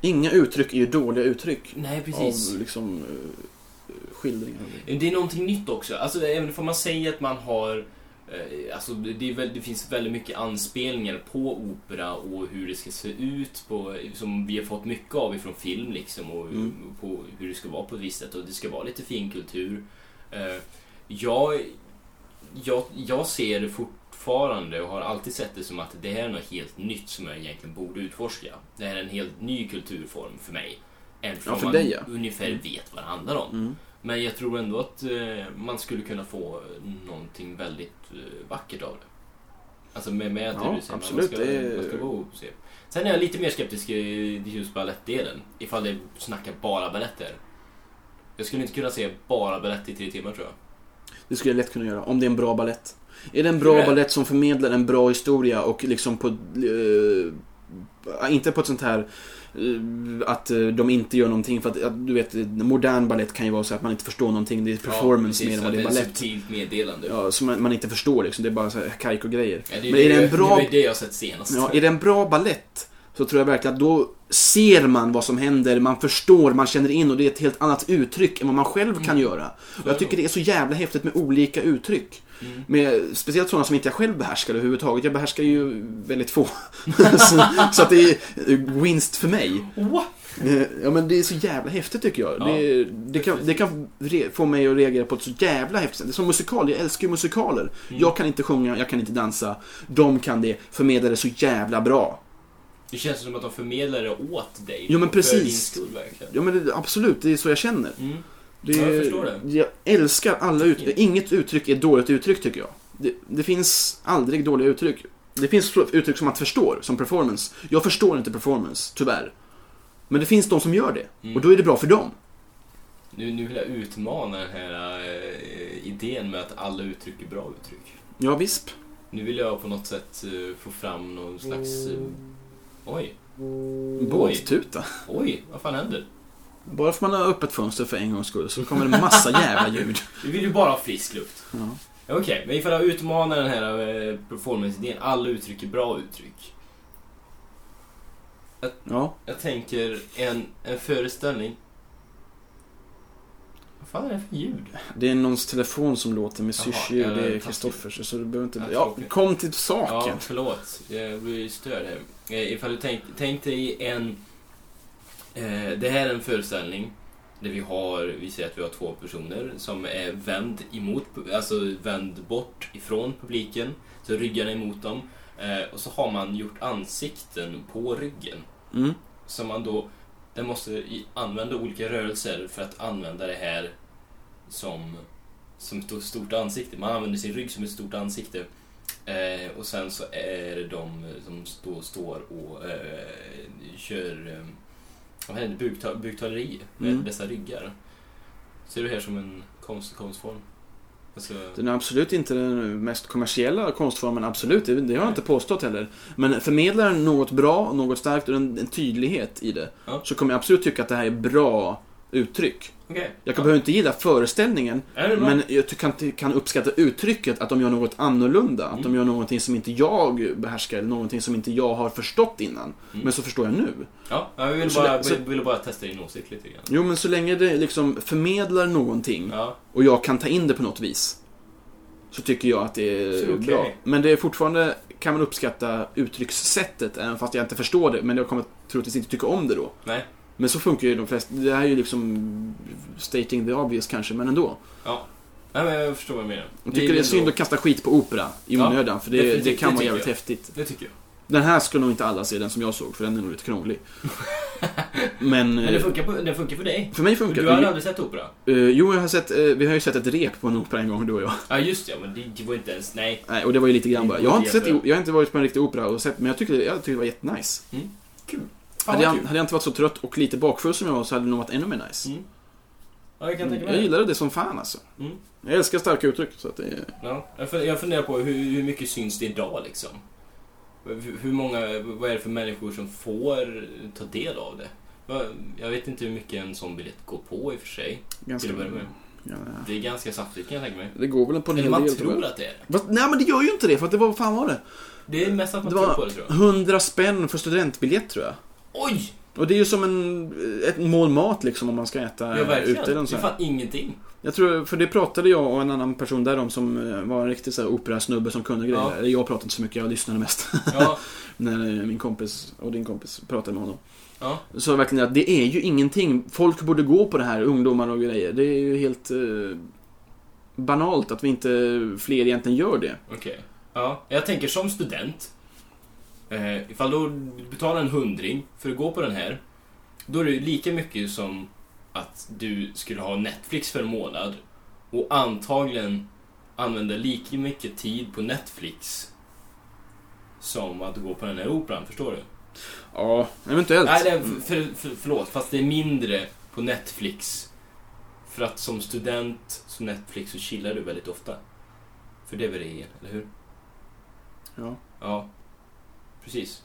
[SPEAKER 2] Inga uttryck är ju dåliga uttryck.
[SPEAKER 1] Nej precis.
[SPEAKER 2] Av liksom eh, skildringar.
[SPEAKER 1] Mm. Det är någonting nytt också. Alltså, även om man säger att man har... eh, Alltså, det, är väl, det finns väldigt mycket anspelningar på opera och hur det ska se ut, på, som vi har fått mycket av ifrån film. Liksom, och hur-
[SPEAKER 2] Mm.
[SPEAKER 1] på, hur det ska vara på ett visst sätt och det ska vara lite finkultur. Eh, Jag, jag, jag ser det fortfarande och har alltid sett det som att det här är något helt nytt som jag egentligen borde utforska. Det här är en helt ny kulturform för mig. Även
[SPEAKER 2] Ja,
[SPEAKER 1] om
[SPEAKER 2] för
[SPEAKER 1] man
[SPEAKER 2] dig, ja.
[SPEAKER 1] ungefär
[SPEAKER 2] Mm.
[SPEAKER 1] vet vad det handlar om.
[SPEAKER 2] Mm.
[SPEAKER 1] Men jag tror ändå att eh, man skulle kunna få någonting väldigt eh, vackert av det. Alltså med, med att
[SPEAKER 2] Ja,
[SPEAKER 1] det du säger,
[SPEAKER 2] absolut,
[SPEAKER 1] man ska,
[SPEAKER 2] det är-
[SPEAKER 1] man ska gå och se. Sen är jag lite mer skeptisk i just balettdelen. Ifall det snackar bara baletter. Jag skulle inte kunna se bara balett i tre timmar tror jag.
[SPEAKER 2] Det skulle jag lätt kunna göra, om det är en bra ballett. Är det en bra
[SPEAKER 1] Tror du det?
[SPEAKER 2] ballett som förmedlar en bra historia och liksom på... eh, inte på ett sånt här eh, att eh, de inte gör någonting för att, att du vet, modern ballett kan ju vara så att man inte förstår någonting. Det är performance mer än vad det är
[SPEAKER 1] Det är
[SPEAKER 2] ballett.
[SPEAKER 1] subtilt meddelande. Ja,
[SPEAKER 2] Ja, som man, man inte förstår liksom. Det är bara så här kajko-grejer.
[SPEAKER 1] det är
[SPEAKER 2] Men är det en bra...
[SPEAKER 1] Det är det jag har sett senast.
[SPEAKER 2] Ja, är det en bra ballett så tror jag verkligen att då ser man vad som händer, man förstår, man känner in och det är ett helt annat uttryck än vad man själv kan göra. Och jag tycker det är så jävla häftigt med olika uttryck.
[SPEAKER 1] Mm.
[SPEAKER 2] Med, speciellt sådana som inte jag själv behärskar överhuvudtaget. Jag behärskar ju väldigt få. så, så att det är winst för mig.
[SPEAKER 1] What?
[SPEAKER 2] Eh, Ja men det är så jävla häftigt tycker jag.
[SPEAKER 1] Ja.
[SPEAKER 2] Det, det kan, det kan re, få mig att reagera på ett så jävla häftigt sätt. Det är Som musikal, jag älskar ju musikaler.
[SPEAKER 1] Mm.
[SPEAKER 2] Jag kan inte sjunga, jag kan inte dansa. De kan det, förmedlar det så jävla bra.
[SPEAKER 1] Det känns som att de förmedlar det åt dig.
[SPEAKER 2] Jo, men
[SPEAKER 1] För din
[SPEAKER 2] precis.
[SPEAKER 1] skull verkligen.
[SPEAKER 2] Ja men det, absolut, det är så jag känner.
[SPEAKER 1] Mm.
[SPEAKER 2] Det,
[SPEAKER 1] Ja,
[SPEAKER 2] är-
[SPEAKER 1] jag förstår det.
[SPEAKER 2] Jag älskar alla uttryck.
[SPEAKER 1] Fint.
[SPEAKER 2] Inget uttryck är dåligt uttryck tycker jag. Det, det finns aldrig dåliga uttryck. Det finns uttryck som man förstår, som performance. Jag förstår inte performance, tyvärr. Men det finns de som gör det.
[SPEAKER 1] Mm.
[SPEAKER 2] Och då är det bra för dem.
[SPEAKER 1] Nu, nu vill jag utmana den här eh, idén med att alla uttryck är bra uttryck.
[SPEAKER 2] Ja, visp.
[SPEAKER 1] Nu vill jag på något sätt eh, få fram någon slags... eh, Oj,
[SPEAKER 2] Båttuta.
[SPEAKER 1] oj, vad fan händer?
[SPEAKER 2] Bara för att man har öppet fönster för en gångs skull så kommer det en massa jävla ljud.
[SPEAKER 1] Vi vill ju bara ha frisk luft.
[SPEAKER 2] Ja.
[SPEAKER 1] Okej, men ifall jag utmanar den här eh, performance-idén, alla uttryck är bra uttryck.
[SPEAKER 2] ja.
[SPEAKER 1] Jag tänker en, en föreställning. Vad fan är det för ljud?
[SPEAKER 2] Det är någons telefon som låter med syrsljud.
[SPEAKER 1] ja,
[SPEAKER 2] Det är
[SPEAKER 1] taskigt.
[SPEAKER 2] Kristoffers. Så du behöver inte...
[SPEAKER 1] Ja,
[SPEAKER 2] Ja,
[SPEAKER 1] tråkigt.
[SPEAKER 2] kom till
[SPEAKER 1] Ja,
[SPEAKER 2] saken.
[SPEAKER 1] förlåt. Jag blir störd här. Eh, Ifall du tänk, tänk dig en... Eh, det här är en föreställning där vi har, vi säger att vi har två personer som är vänd emot, alltså vänd bort ifrån publiken. Så ryggen är emot dem. Eh, och så har man gjort ansikten på ryggen.
[SPEAKER 2] Mm.
[SPEAKER 1] Som man då, den måste i- använda olika rörelser för att använda det här som, som ett stort ansikte. Man använder sin rygg som ett stort ansikte. Eh, och sen så är det de som då står och eh, kör eh, vad heter det, bukta- buktaleri med
[SPEAKER 2] Mm.
[SPEAKER 1] dessa ryggar. Ser du här som en konst, konstform? Alltså,
[SPEAKER 2] Den är absolut inte den mest kommersiella konstformen, absolut. Det, det har jag inte påstått heller. Men förmedlar den något bra, något starkt och en, en tydlighet i det.
[SPEAKER 1] Ja.
[SPEAKER 2] Så kommer jag absolut tycka att det här är bra uttryck.
[SPEAKER 1] Okej.
[SPEAKER 2] Jag kan behöver inte gilla föreställningen,
[SPEAKER 1] Är det bra?
[SPEAKER 2] Men jag ty- kan, ty- kan uppskatta uttrycket att de gör något annorlunda. Att de
[SPEAKER 1] Mm.
[SPEAKER 2] gör någonting som inte jag behärskar, eller någonting som inte jag har förstått innan.
[SPEAKER 1] Mm.
[SPEAKER 2] Men så förstår jag nu.
[SPEAKER 1] Ja, jag ville
[SPEAKER 2] Så
[SPEAKER 1] bara,
[SPEAKER 2] det- så-
[SPEAKER 1] ville ville bara testa din åsikt lite grann.
[SPEAKER 2] Jo, men så länge det liksom förmedlar någonting
[SPEAKER 1] Ja,
[SPEAKER 2] och jag kan ta in det på något vis. Så tycker jag att det
[SPEAKER 1] Så
[SPEAKER 2] är
[SPEAKER 1] okej.
[SPEAKER 2] bra. Men det är fortfarande, kan man uppskatta uttryckssättet, även fast jag inte förstår det. Men jag kommer troligtvis inte tycka om det då.
[SPEAKER 1] nej.
[SPEAKER 2] Men så funkar ju de flesta. Det här är ju liksom stating the obvious kanske, men ändå.
[SPEAKER 1] Nej, men jag förstår vad du menar.
[SPEAKER 2] Jag tycker det är synd att kasta skit på opera i
[SPEAKER 1] Ja,
[SPEAKER 2] onödan, för det, det
[SPEAKER 1] definitivt,
[SPEAKER 2] kan
[SPEAKER 1] det
[SPEAKER 2] vara
[SPEAKER 1] tycker
[SPEAKER 2] jävligt
[SPEAKER 1] jag.
[SPEAKER 2] häftigt.
[SPEAKER 1] Det tycker jag.
[SPEAKER 2] Den här skulle nog inte alla se, den som jag såg, för den är nog lite krånglig. Men,
[SPEAKER 1] Men det
[SPEAKER 2] eh,
[SPEAKER 1] funkar, på, det funkar för dig.
[SPEAKER 2] för mig
[SPEAKER 1] För
[SPEAKER 2] funkar
[SPEAKER 1] du har
[SPEAKER 2] det.
[SPEAKER 1] aldrig sett opera?
[SPEAKER 2] Eh, Jo, jag har sett, eh, vi har ju sett ett rep på en opera en gång, du och jag.
[SPEAKER 1] Ja, just det. Men det, det var inte ens... Nej.
[SPEAKER 2] Nej, och det var ju lite grann bara. Jag har inte, sett,
[SPEAKER 1] Jättebra.
[SPEAKER 2] jag har inte varit på en riktig opera, och sett, men jag tyckte, jag tyckte det var jättenice.
[SPEAKER 1] Mm. Fan
[SPEAKER 2] Hade
[SPEAKER 1] vad
[SPEAKER 2] jag,
[SPEAKER 1] kul.
[SPEAKER 2] hade jag inte varit så trött och lite bakfull som jag var så hade det nog varit ännu mer nice.
[SPEAKER 1] Mm. Ja, jag kan tänka
[SPEAKER 2] Mm, Jag
[SPEAKER 1] mig det.
[SPEAKER 2] gillade det som fan alltså.
[SPEAKER 1] Mm.
[SPEAKER 2] Jag älskar starka uttryck, så att det...
[SPEAKER 1] Ja, jag fun- jag funderar på hur, hur mycket syns det idag liksom? Hur hur många, vad är det för människor som får ta del av det? Va- Jag vet inte hur mycket en sån biljett går på i och för sig.
[SPEAKER 2] Ganska...
[SPEAKER 1] Till att börja med.
[SPEAKER 2] Ja,
[SPEAKER 1] Det är ganska saftigt kan jag tänka mig.
[SPEAKER 2] det går väl på en
[SPEAKER 1] Eller
[SPEAKER 2] hel
[SPEAKER 1] man
[SPEAKER 2] del, tror
[SPEAKER 1] tror
[SPEAKER 2] jag.
[SPEAKER 1] att det är det.
[SPEAKER 2] Fast, nej, men det gör ju inte det, för att det var, vad fan var det?
[SPEAKER 1] Det är mest att man
[SPEAKER 2] Det var-
[SPEAKER 1] tror på det tror jag.
[SPEAKER 2] 100 spänn för studentbiljett tror jag.
[SPEAKER 1] Oj!
[SPEAKER 2] Och det är ju som en, ett mål mat liksom om man ska äta
[SPEAKER 1] Ja, verkligen.
[SPEAKER 2] ute
[SPEAKER 1] Det
[SPEAKER 2] eller nåt
[SPEAKER 1] är
[SPEAKER 2] sånt här.
[SPEAKER 1] fan ingenting.
[SPEAKER 2] Jag tror, för det pratade jag och en annan person där om som eh, var en riktig så här operasnubbe som kunde grejer.
[SPEAKER 1] Ja.
[SPEAKER 2] Eller Jag pratade inte så mycket, jag lyssnade mest.
[SPEAKER 1] Ja,
[SPEAKER 2] När eh, min kompis och din kompis pratade med honom.
[SPEAKER 1] ja.
[SPEAKER 2] Så verkligen att det är ju ingenting. Folk borde gå på det här, ungdomar och grejer. Det är ju helt eh, banalt att vi inte fler egentligen gör det.
[SPEAKER 1] Okej. Ja, jag tänker som student. Eh, ifall du betalar en hundring för att gå på den här. Då är det ju lika mycket som att du skulle ha Netflix för en månad. Och antagligen använda lika mycket tid på Netflix. Som att gå på den här operan, förstår du?
[SPEAKER 2] Ja, eventuellt. Mm.
[SPEAKER 1] Nej, det är, för, för, förlåt, fast det är mindre på Netflix. För att som student, så Netflix, så chillar du väldigt ofta. För det är väl det, eller hur?
[SPEAKER 2] Ja.
[SPEAKER 1] Ja, precis.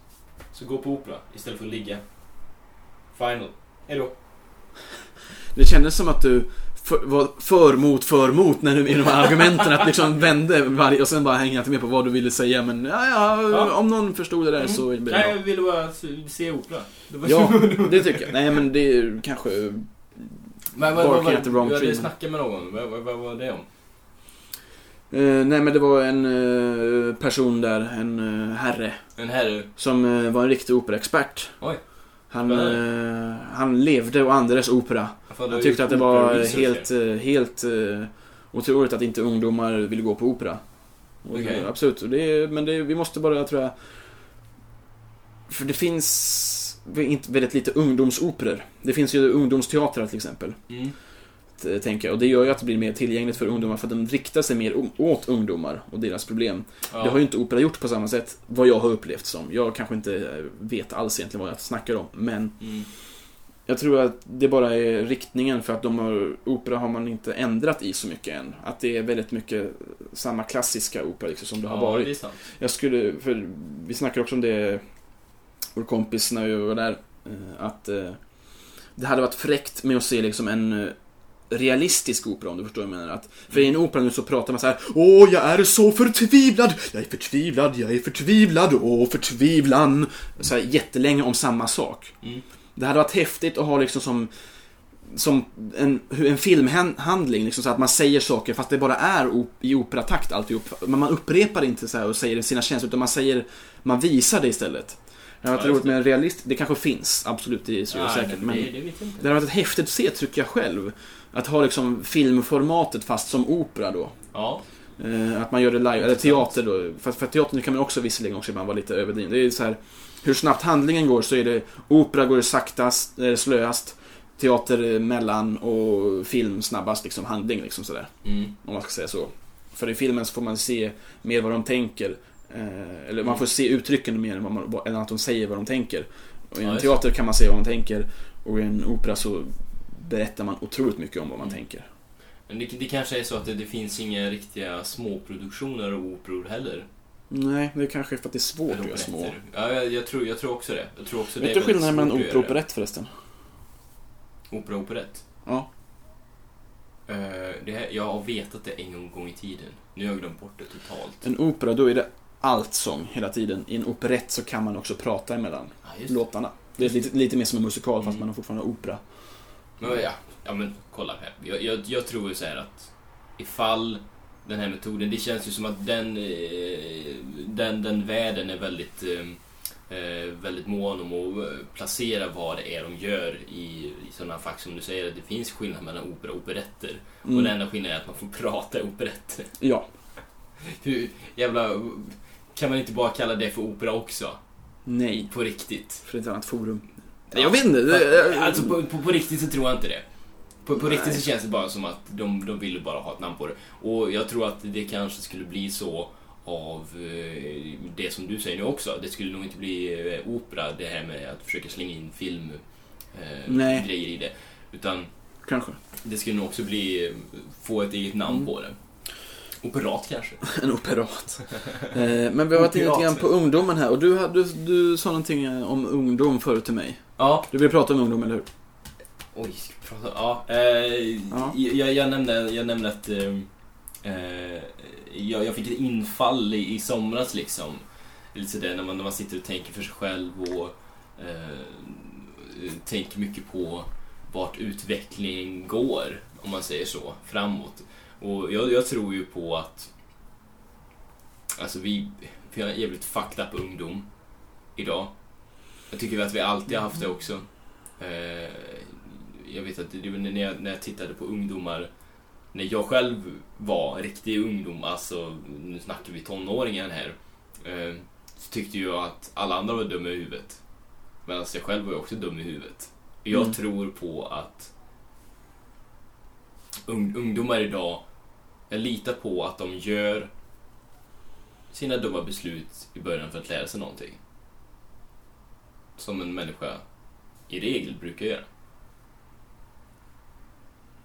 [SPEAKER 1] Så gå på opera istället för att ligga. Final. Hejdå.
[SPEAKER 2] Det kändes som att du för, var för mot, för mot när du i de här argumenten att liksom vände varje och sen bara hängde jag inte med på vad du ville säga men ja, ja,
[SPEAKER 1] Ja. Mm.
[SPEAKER 2] om någon förstod det där så blir
[SPEAKER 1] Nej,
[SPEAKER 2] det
[SPEAKER 1] jag
[SPEAKER 2] bra.
[SPEAKER 1] ville bara se- se opera. Det var-
[SPEAKER 2] Ja, det tycker jag. Nej men det är ju kanske... eh,
[SPEAKER 1] Men vad, vad,
[SPEAKER 2] Bark
[SPEAKER 1] vad,
[SPEAKER 2] heter wrong
[SPEAKER 1] du hade
[SPEAKER 2] treatment.
[SPEAKER 1] snackat med någon, vad, vad, vad var det om?
[SPEAKER 2] Eh, nej men det var en eh, person där, en eh, herre,
[SPEAKER 1] En herre?
[SPEAKER 2] som eh, var en riktig operaexpert.
[SPEAKER 1] Oj.
[SPEAKER 2] Han, eh, han levde och andades opera.
[SPEAKER 1] fan, du har
[SPEAKER 2] Jag tyckte
[SPEAKER 1] gjort
[SPEAKER 2] att det
[SPEAKER 1] opera
[SPEAKER 2] var
[SPEAKER 1] research
[SPEAKER 2] helt, eh, helt eh, otroligt att inte ungdomar ville gå på opera. Och,
[SPEAKER 1] Okej.
[SPEAKER 2] eh, Absolut, och det, är- men det, vi måste bara, tror jag... För det finns väl inte- väldigt lite ungdomsoperor. Det finns ju ungdomsteatrar till exempel,
[SPEAKER 1] här. Mm.
[SPEAKER 2] t- tänker jag. eh, Och det gör ju att det blir mer tillgängligt för ungdomar, för att den riktar sig mer o- åt ungdomar och deras problem.
[SPEAKER 1] Ja.
[SPEAKER 2] Det har ju inte opera gjort på samma sätt, vad jag har upplevt som. Jag kanske inte eh, vet alls egentligen vad jag snackar om, men
[SPEAKER 1] Mm.
[SPEAKER 2] jag tror att det bara är riktningen för att de har, opera har man inte ändrat i så mycket än. Att det är väldigt mycket eh, samma klassiska opera liksom, som det har
[SPEAKER 1] ja,
[SPEAKER 2] varit.
[SPEAKER 1] det är sant.
[SPEAKER 2] Jag skulle, för vi snackade också om det, vår kompis när vi var där, eh, att eh, det hade varit fräckt med att se liksom en eh, realistisk opera om du förstår vad jag menar. Att, för i en opera nu så pratar man så här Åh, jag är så förtvivlad! Jag är förtvivlad, jag är förtvivlad, åh förtvivlan! Så här jättelänge om samma sak.
[SPEAKER 1] Mm.
[SPEAKER 2] Det hade varit häftigt att ha liksom som som en, hur- en filmhandling, liksom så att man säger saker fast det bara är op- i operatakt alltihop. Men man upprepar inte så här och säger sina känslor utan man säger, man visar det istället. Det hade varit
[SPEAKER 1] Ja, just
[SPEAKER 2] roligt med en realist, det kanske finns, absolut, det är så
[SPEAKER 1] Nej,
[SPEAKER 2] säkert.
[SPEAKER 1] men
[SPEAKER 2] Men
[SPEAKER 1] det, det vet jag
[SPEAKER 2] det
[SPEAKER 1] inte.
[SPEAKER 2] hade varit häftigt att se, tycker jag själv. Att ha liksom filmformatet fast som opera då.
[SPEAKER 1] Ja.
[SPEAKER 2] Eh, att man gör det live, eller teater då. För, för teatern kan man också visserligen också ibland vara lite överdriven. Det är så här, hur snabbt handlingen går så är det, opera går saktast, eh, slöast, teater eh, mellan och film snabbast liksom, handling liksom sådär.
[SPEAKER 1] Mm.
[SPEAKER 2] Om man ska säga så. För i filmen så får man se mer vad de tänker. Eh, eller man får se uttrycken mer än, vad man, än att de säger vad de tänker. Och i
[SPEAKER 1] Ja,
[SPEAKER 2] en
[SPEAKER 1] just
[SPEAKER 2] teater kan man se vad man tänker och i en opera så berättar man otroligt mycket om vad man
[SPEAKER 1] Mm.
[SPEAKER 2] tänker.
[SPEAKER 1] Men det, det kanske är så att det, det finns inga riktiga småproduktioner och operor heller.
[SPEAKER 2] Nej, det är kanske är för att det är svårt
[SPEAKER 1] Eller
[SPEAKER 2] att göra små.
[SPEAKER 1] operetter. Ja, jag, jag, tror, jag tror också det. Jag tror också det
[SPEAKER 2] Vet
[SPEAKER 1] är
[SPEAKER 2] du
[SPEAKER 1] väldigt
[SPEAKER 2] skillnaden mellan
[SPEAKER 1] svårt att
[SPEAKER 2] opera och
[SPEAKER 1] göra det.
[SPEAKER 2] operett förresten?
[SPEAKER 1] Opera och operett?
[SPEAKER 2] Ja.
[SPEAKER 1] Eh, det här, jag har vetat det en gång i tiden. Nu har jag glömt bort det totalt.
[SPEAKER 2] En opera, då är det allt sång hela tiden. I en operett så kan man också prata emellan
[SPEAKER 1] Ja, just det.
[SPEAKER 2] låtarna. Det är lite, lite mer som en musikal fast
[SPEAKER 1] Mm.
[SPEAKER 2] man har fortfarande opera.
[SPEAKER 1] Men, ja, ja, men kolla här. Jag, jag, jag tror ju så här att ifall den här metoden, det känns ju som att den, eh, den, den världen är väldigt, eh, eh, väldigt mån om att eh, placera vad det är de gör i, i sådana fack som du säger. att Det finns skillnad mellan opera och operetter.
[SPEAKER 2] Mm.
[SPEAKER 1] Och den enda skillnaden är att man får prata i operetter.
[SPEAKER 2] Ja.
[SPEAKER 1] Hur jävla... Kan man inte bara kalla det för opera också?
[SPEAKER 2] Nej.
[SPEAKER 1] På riktigt.
[SPEAKER 2] För det är ett annat forum.
[SPEAKER 1] Ja.
[SPEAKER 2] Jag vet inte. det-
[SPEAKER 1] Alltså på, på, på riktigt så tror jag inte det. På, på
[SPEAKER 2] Nej.
[SPEAKER 1] riktigt så känns det bara som att de, de ville bara ha ett namn på det. Och jag tror att det kanske skulle bli så av eh, det som du säger nu också. Det skulle nog inte bli eh, opera, det här med att försöka slänga in film eh,
[SPEAKER 2] Nej.
[SPEAKER 1] grejer i det. Utan
[SPEAKER 2] Kanske.
[SPEAKER 1] det skulle nog också bli, eh, få ett eget namn
[SPEAKER 2] Mm.
[SPEAKER 1] på det. Operat kanske?
[SPEAKER 2] En operat. Eh, Men vi har varit inne lite grann på ungdomen här och du, hade- du, du sa någonting eh, om ungdom förut till mig.
[SPEAKER 1] Ja,
[SPEAKER 2] Du vill prata om ungdom, eller hur?
[SPEAKER 1] Oj, ska vi prata? Ja, eh,
[SPEAKER 2] Ja.
[SPEAKER 1] Jag, jag, nämnde, jag nämnde att eh, eh, jag, jag fick ett infall i, i somras liksom. Lite sådär när man, när man sitter och tänker för sig själv och eh, tänker mycket på vart utvecklingen går, om man säger så, framåt. Och jag, jag tror ju på att alltså vi, vi har en jävligt fucked up ungdom idag. Jag tycker att vi alltid har haft det också. Eh, jag vet att det, var när, jag, när jag tittade på ungdomar, när jag själv var riktig ungdom, alltså nu snackar vi tonåringen här, eh, så tyckte jag att alla andra var dumma i huvudet. Medan jag själv var ju också dum i huvudet. Jag
[SPEAKER 2] Mm.
[SPEAKER 1] tror på att ung, ungdomar idag, jag litar på att de gör sina dumma beslut i början för att lära sig någonting. Som en människa i regel brukar göra.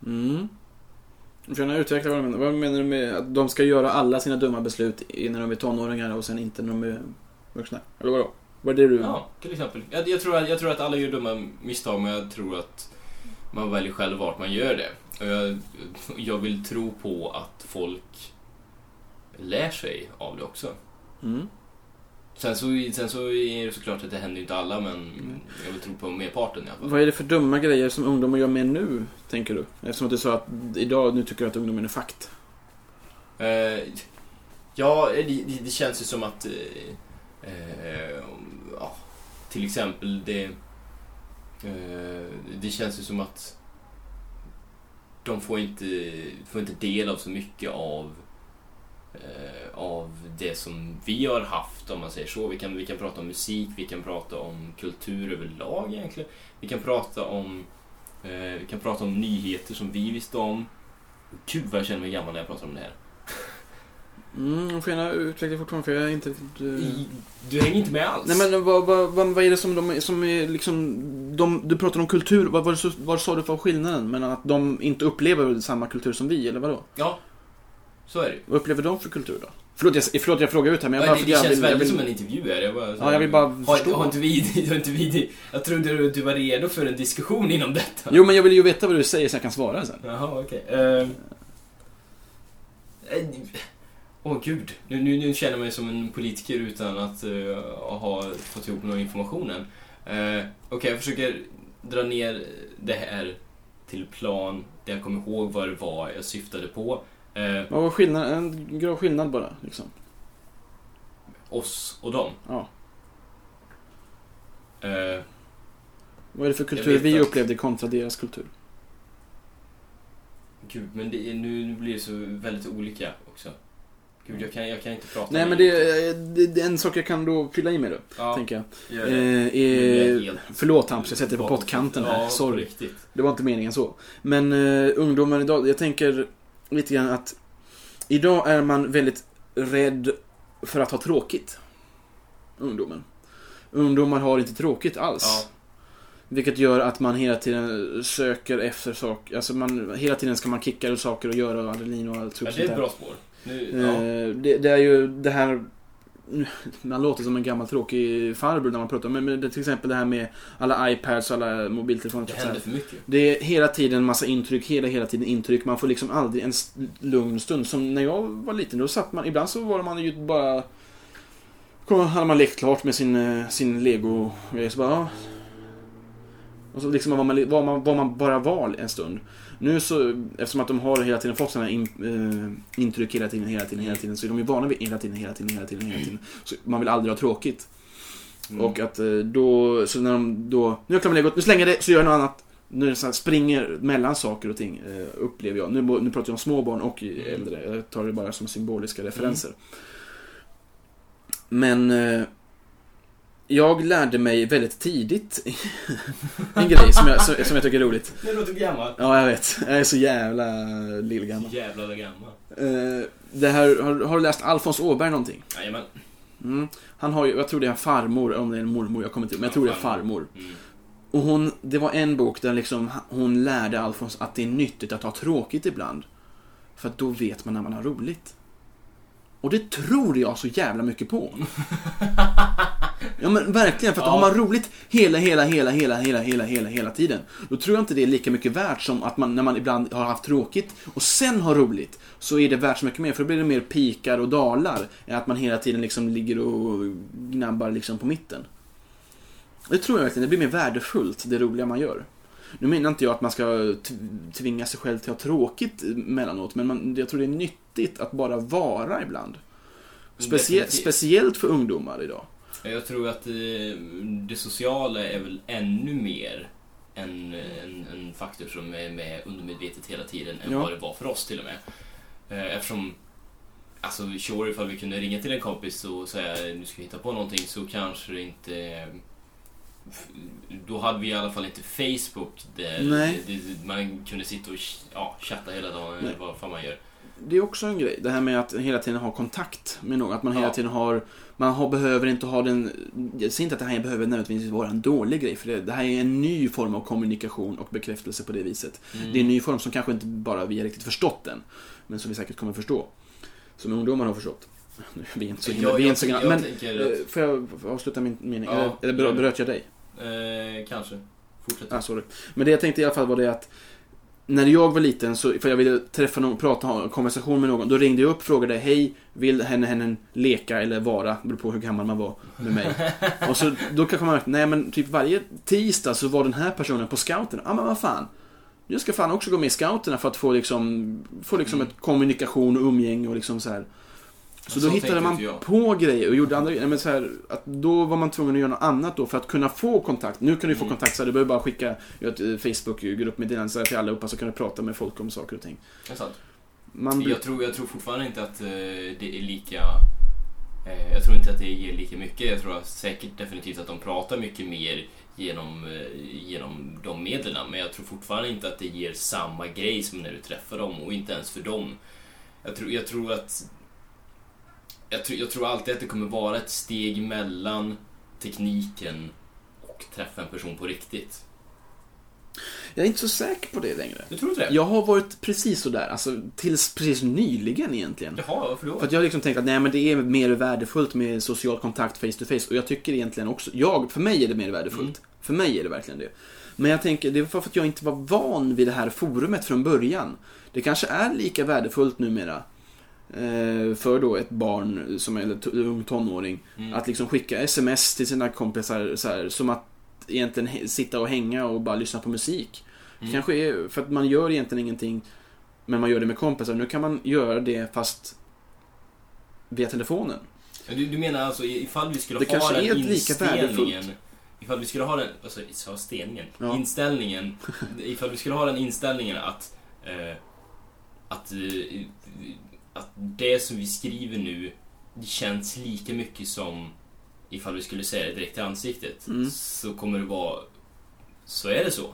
[SPEAKER 2] Mm. Du får gärna utveckla vad du menar. Vad menar du med att de ska göra alla sina dumma beslut i- när de är tonåringar och sen inte när de är vuxna? Eller vadå? Var det du...
[SPEAKER 1] Ja, till exempel. Jag, jag, tror, att- jag tror att alla gör dumma misstag men jag tror att man väljer själv vart man gör det. Och jag, jag vill tro på att folk lär sig av det också.
[SPEAKER 2] Mm.
[SPEAKER 1] Sen så, sen så är det såklart att det händer ju inte alla men jag vill tro på merparten i alla fall.
[SPEAKER 2] Vad är det för dumma grejer som ungdomar gör mer nu, tänker du? Eftersom att du sa att idag, nu tycker jag att ungdomen är fakt.
[SPEAKER 1] Eh, ja, det, det, det känns ju som att... Eh, eh, om- ja, till exempel det... Eh, det känns ju som att de får inte, får inte del av så mycket av eh, av det som vi har haft om man säger så. Vi kan, vi kan prata om musik, vi kan prata om kultur överlag egentligen. Vi kan prata om, eh, vi kan prata om nyheter som vi visste om. Gud vad jag känner mig gammal när jag pratar om det här.
[SPEAKER 2] Mm, du får gärna utveckla fortfarande för jag är inte... Du...
[SPEAKER 1] I- Du hänger inte med alls.
[SPEAKER 2] Nej men vad, vad, vad, vad är det som de som är liksom... De, du pratar om kultur, vad, vad, vad sa du för skillnaden? Men att de inte upplever samma kultur som vi, eller vadå?
[SPEAKER 1] Ja, så är det ju.
[SPEAKER 2] Vad upplever de för kultur då? Förlåt jag, förlåt, jag frågar ut här men jag
[SPEAKER 1] Nej,
[SPEAKER 2] bara...
[SPEAKER 1] Det,
[SPEAKER 2] för
[SPEAKER 1] det
[SPEAKER 2] jag
[SPEAKER 1] känns
[SPEAKER 2] vill- jag
[SPEAKER 1] väldigt
[SPEAKER 2] vill-
[SPEAKER 1] som en intervju. Här. Jag, bara,
[SPEAKER 2] Ja, jag vill bara
[SPEAKER 1] har,
[SPEAKER 2] förstå.
[SPEAKER 1] har inte vi, har inte vi, det- jag trodde du, du var redo för en diskussion inom detta.
[SPEAKER 2] Jo men jag vill ju veta vad du säger så jag kan svara sen.
[SPEAKER 1] Jaha, okej. Ehm. Eh, Åh gud, nu, nu, nu känner jag mig som en politiker utan att eh, ha fått ihop någon information än. Eh, okej, jag försöker dra ner det här till plan där jag kommer ihåg vad det var jag syftade på. Eh,
[SPEAKER 2] Vad var skillnaden? En grå skillnad bara, liksom.
[SPEAKER 1] oss och dem.
[SPEAKER 2] Ja.
[SPEAKER 1] Eh,
[SPEAKER 2] Vad är det för
[SPEAKER 1] Jag
[SPEAKER 2] kultur
[SPEAKER 1] vet
[SPEAKER 2] vi
[SPEAKER 1] att-
[SPEAKER 2] upplevde kontra deras kultur?
[SPEAKER 1] Gud, men det är, nu nu blir det så väldigt olika också. Gud, jag kan, jag kan inte prata
[SPEAKER 2] Nej
[SPEAKER 1] om
[SPEAKER 2] men det, är- det, det är en sak jag kan då fylla i med då,
[SPEAKER 1] Ja,
[SPEAKER 2] tänker jag.
[SPEAKER 1] gör det.
[SPEAKER 2] Eh,
[SPEAKER 1] Nu blir
[SPEAKER 2] eh,
[SPEAKER 1] jag helt-
[SPEAKER 2] förlåt Hampus, jag sätter dig på
[SPEAKER 1] bakom-
[SPEAKER 2] pottkanten
[SPEAKER 1] Ja,
[SPEAKER 2] här.
[SPEAKER 1] på
[SPEAKER 2] Sorry.
[SPEAKER 1] riktigt.
[SPEAKER 2] Det var inte meningen så. Men eh, ungdomar idag, jag tänker lite grann att idag är man väldigt rädd för att ha tråkigt. Ungdomen. Ungdomar har inte tråkigt alls.
[SPEAKER 1] Ja.
[SPEAKER 2] Vilket gör att man hela tiden söker efter saker. Alltså man, hela tiden ska man kicka ur saker och göra adrenalin och allt
[SPEAKER 1] Ja,
[SPEAKER 2] sånt
[SPEAKER 1] det är
[SPEAKER 2] där.
[SPEAKER 1] ett bra spår. Nu, ja.
[SPEAKER 2] Eh, det, det är ju det här... Man låter som en gammal tråkig farbror när man pratar men, men det, till exempel det här med alla iPads och alla mobiltelefoner. och
[SPEAKER 1] Det
[SPEAKER 2] sånt här.
[SPEAKER 1] händer för mycket.
[SPEAKER 2] Det är hela tiden massa intryck, hela, hela tiden intryck. Man får liksom aldrig en st- lugn stund. Som när jag var liten, då satt man... Ibland så var man ju bara... Kom, hade man lekt klart med sin, eh, sin lego så bara... ja. Och så liksom var man, var, man, var man bara var en stund. Nu så, eftersom att de har hela tiden fått sådana in, eh, intryck hela tiden, hela tiden, hela tiden. Så är de ju vana vid hela tiden, hela tiden, hela tiden, hela tiden. Så man vill aldrig ha tråkigt.
[SPEAKER 1] Mm.
[SPEAKER 2] Och att eh, då, så när de då, nu är jag klar med legot, nu slänger jag det, så gör jag något annat. Nu är det så här, springer mellan saker och ting, eh, upplever jag. Nu, bo- nu pratar jag om små barn och
[SPEAKER 1] Mm.
[SPEAKER 2] äldre, jag tar det bara som symboliska referenser. Men eh, jag lärde mig väldigt tidigt en grej som jag, som, som jag tycker är roligt.
[SPEAKER 1] Nu låter gammal.
[SPEAKER 2] Ja, jag vet. Jag är så jävla lillgammal.
[SPEAKER 1] Jävla gammal.
[SPEAKER 2] Eh, det här, har, har du läst Alfons Åberg någonting?
[SPEAKER 1] Jajamän.
[SPEAKER 2] Mm. Han har ju, jag tror det är en farmor, om det är en mormor, jag kommer inte ihåg, men jag tror det är farmor.
[SPEAKER 1] Mm.
[SPEAKER 2] Och hon, det var en bok där liksom hon lärde Alfons att det är nyttigt att ha tråkigt ibland. För att då vet man när man har roligt. Och det tror jag så jävla mycket på. Ja men verkligen, för att
[SPEAKER 1] Ja.
[SPEAKER 2] har man roligt hela, hela, hela, hela, hela, hela, hela, hela tiden. Då tror jag inte det är lika mycket värt som att man, när man ibland har haft tråkigt och sen har roligt. Så är det värt så mycket mer, för då blir det mer pikar och dalar. Än att man hela tiden liksom ligger och gnabbar liksom på mitten. Det tror jag verkligen. Det blir mer värdefullt, det roliga man gör. Nu menar inte jag att man ska t- tvinga sig själv till att ha tråkigt emellanåt, men man, jag tror det är nyttigt att bara vara ibland. Specie-
[SPEAKER 1] Definitivt.
[SPEAKER 2] speciellt för ungdomar idag.
[SPEAKER 1] Jag tror att eh, det sociala är väl ännu mer en, en, en faktor som är med undermedvetet hela tiden än
[SPEAKER 2] Ja.
[SPEAKER 1] vad det var för oss till och med. Eh, Eftersom, alltså sure ifall vi kunde ringa till en kompis och säga nu ska vi hitta på någonting så kanske det inte f- då hade vi i alla fall inte Facebook där
[SPEAKER 2] Nej.
[SPEAKER 1] det- det- man kunde sitta och ch- ja, chatta hela dagen
[SPEAKER 2] Nej.
[SPEAKER 1] eller vad fan man gör.
[SPEAKER 2] Det är också en grej, det här med att hela tiden ha kontakt med någon. Att man hela
[SPEAKER 1] Ja.
[SPEAKER 2] tiden har... Man har, behöver inte ha den... Jag säger inte att det här behöver nödvändigtvis vara en dålig grej, för det, det här är en ny form av kommunikation och bekräftelse på det viset. Det
[SPEAKER 1] Mm.
[SPEAKER 2] är en ny form som kanske inte bara vi har riktigt förstått än, men som vi säkert kommer förstå. Som ungdomar har förstått. Nu, vi är inte så
[SPEAKER 1] Jag-
[SPEAKER 2] himla, vi är
[SPEAKER 1] jag-
[SPEAKER 2] inte så
[SPEAKER 1] jag
[SPEAKER 2] gamla. Men,
[SPEAKER 1] tänker att-
[SPEAKER 2] eh, får jag avsluta min mening?
[SPEAKER 1] Ja.
[SPEAKER 2] Eller- Eller brö- bröt jag dig?
[SPEAKER 1] Eh, kanske. Fortsätt.
[SPEAKER 2] Ah, sorry. Men det jag tänkte i alla fall var det att när jag var liten, så, för jag ville träffa någon, prata, ha en konversation med någon, då ringde jag upp och frågade Hej, vill henne, henne leka eller vara? Beror på hur gammal man var med mig. och så då kan jag komma ihåg, nej men typ varje tisdag så var den här personen på scouterna. Ja ah, men vad fan. Jag ska fan också gå med i scouterna för att få liksom, få liksom
[SPEAKER 1] Mm.
[SPEAKER 2] ett kommunikation och umgänge och liksom så här. Så,
[SPEAKER 1] Men
[SPEAKER 2] då
[SPEAKER 1] så
[SPEAKER 2] hittade
[SPEAKER 1] tänkte
[SPEAKER 2] man
[SPEAKER 1] inte jag.
[SPEAKER 2] på grejer och gjorde andra grejer. Nej, Men så här, att då var man tvungen att göra något annat då för att kunna få kontakt. Nu kan du få
[SPEAKER 1] Mm.
[SPEAKER 2] kontakt så här, du behöver bara skicka göra ett eh, Facebook-grupp med dina till allihopa så kan du prata med folk om saker och ting.
[SPEAKER 1] Det är sant.
[SPEAKER 2] Man blir-
[SPEAKER 1] Jag tror, jag tror fortfarande inte att eh, det är lika... Eh, jag tror inte att det ger lika mycket. Jag tror säkert definitivt att de pratar mycket mer genom, eh, genom de medlen. Men jag tror fortfarande inte att det ger samma grej som när du träffar dem och inte ens för dem. Jag tror, jag tror att... Jag tror, jag tror alltid att det kommer vara ett steg mellan tekniken och träffa en person på riktigt.
[SPEAKER 2] Jag är inte så säker på det längre.
[SPEAKER 1] Du tror inte det?
[SPEAKER 2] Jag har varit precis sådär, alltså tills precis nyligen egentligen.
[SPEAKER 1] Jaha, varför då?
[SPEAKER 2] För att jag har liksom tänkt att nej men det är mer värdefullt med social kontakt face to face och jag tycker egentligen också, jag, för mig är det mer värdefullt.
[SPEAKER 1] Mm.
[SPEAKER 2] För mig är det verkligen det. Men jag tänker, det var för att jag inte var van vid det här forumet från början. Det kanske är lika värdefullt numera eh, för då ett barn, som, eller to- ung tonåring,
[SPEAKER 1] Mm.
[SPEAKER 2] att liksom skicka sms till sina kompisar så här, som att egentligen he- sitta och hänga och bara lyssna på musik. Det
[SPEAKER 1] Mm.
[SPEAKER 2] Kanske är för att man gör egentligen ingenting men man gör det med kompisar. Nu kan man göra det fast via telefonen.
[SPEAKER 1] Men Du, du menar alltså i- ifall vi skulle
[SPEAKER 2] Det
[SPEAKER 1] ha
[SPEAKER 2] kanske
[SPEAKER 1] den
[SPEAKER 2] är ett lika
[SPEAKER 1] inställningen...
[SPEAKER 2] värdefullt.
[SPEAKER 1] Ifall vi skulle ha den, alltså sa steningen,
[SPEAKER 2] Ja.
[SPEAKER 1] inställningen, ifall vi skulle ha den inställningen att, eh, att, eh, att det som vi skriver nu känns lika mycket som ifall vi skulle säga det direkt i ansiktet,
[SPEAKER 2] Mm.
[SPEAKER 1] så kommer det vara, så är det så.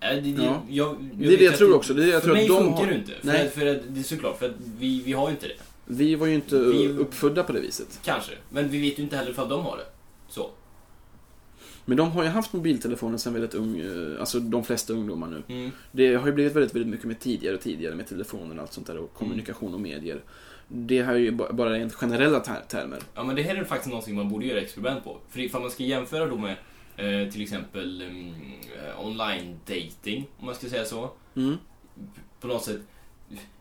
[SPEAKER 1] Äh, det, det,
[SPEAKER 2] Mm. Ja.
[SPEAKER 1] jag,
[SPEAKER 2] Det är det
[SPEAKER 1] vet
[SPEAKER 2] jag
[SPEAKER 1] att
[SPEAKER 2] tror också. Det är det jag
[SPEAKER 1] för
[SPEAKER 2] tror
[SPEAKER 1] mig
[SPEAKER 2] att de
[SPEAKER 1] funkar
[SPEAKER 2] har-
[SPEAKER 1] det inte. För,
[SPEAKER 2] Nej.
[SPEAKER 1] att, för att, det är såklart, för att vi, vi har ju inte det.
[SPEAKER 2] Vi var ju inte
[SPEAKER 1] Vi-
[SPEAKER 2] uppfödda på det viset.
[SPEAKER 1] Kanske, men vi vet ju inte heller ifall de har det. Så.
[SPEAKER 2] Men de har ju haft mobiltelefoner sen väldigt ung, eh, alltså de flesta ungdomar nu. Det har ju blivit väldigt, väldigt mycket med tidigare och tidigare med telefoner och allt sånt där och kommunikation och medier. Det här är ju ba- bara rent generella ter- termer.
[SPEAKER 1] Ja, men det här är faktiskt någonting man borde göra experiment på. För ifall man ska jämföra då med eh, till exempel mm, eh, online dating om man ska säga så.
[SPEAKER 2] Mm.
[SPEAKER 1] På något sätt,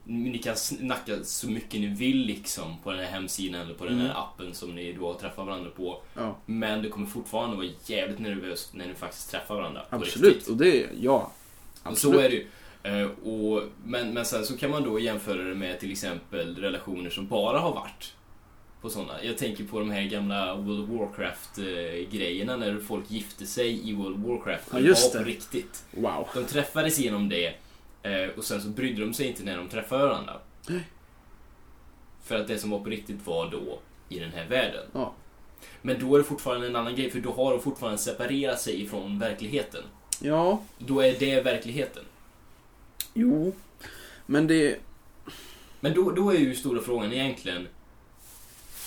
[SPEAKER 1] ni kan snacka så mycket ni vill liksom på den här hemsidan eller på den här
[SPEAKER 2] Mm.
[SPEAKER 1] appen som ni då träffar varandra på.
[SPEAKER 2] Ja,
[SPEAKER 1] Men du kommer fortfarande vara jävligt nervös när ni faktiskt träffar varandra. på
[SPEAKER 2] absolut.
[SPEAKER 1] riktigt.
[SPEAKER 2] Och det, ja.
[SPEAKER 1] Och Så
[SPEAKER 2] Absolut.
[SPEAKER 1] är det ju. Eh, Och, men, men sen så kan man då jämföra det med till exempel relationer som bara har varit på sådana. Jag tänker på de här gamla World of Warcraft-grejerna när folk gifte sig i World of Warcraft.
[SPEAKER 2] Ja, just
[SPEAKER 1] var på
[SPEAKER 2] det.
[SPEAKER 1] riktigt.
[SPEAKER 2] Wow.
[SPEAKER 1] De träffades genom det eh, och sen så brydde de sig inte när de träffade varandra. För att det som var på riktigt var då i den här världen.
[SPEAKER 2] Ja.
[SPEAKER 1] Men då är det fortfarande en annan grej för då har de fortfarande separerat sig ifrån verkligheten.
[SPEAKER 2] Ja,
[SPEAKER 1] Då är det verkligheten.
[SPEAKER 2] Jo, men det...
[SPEAKER 1] Men då, då är ju stora frågan egentligen,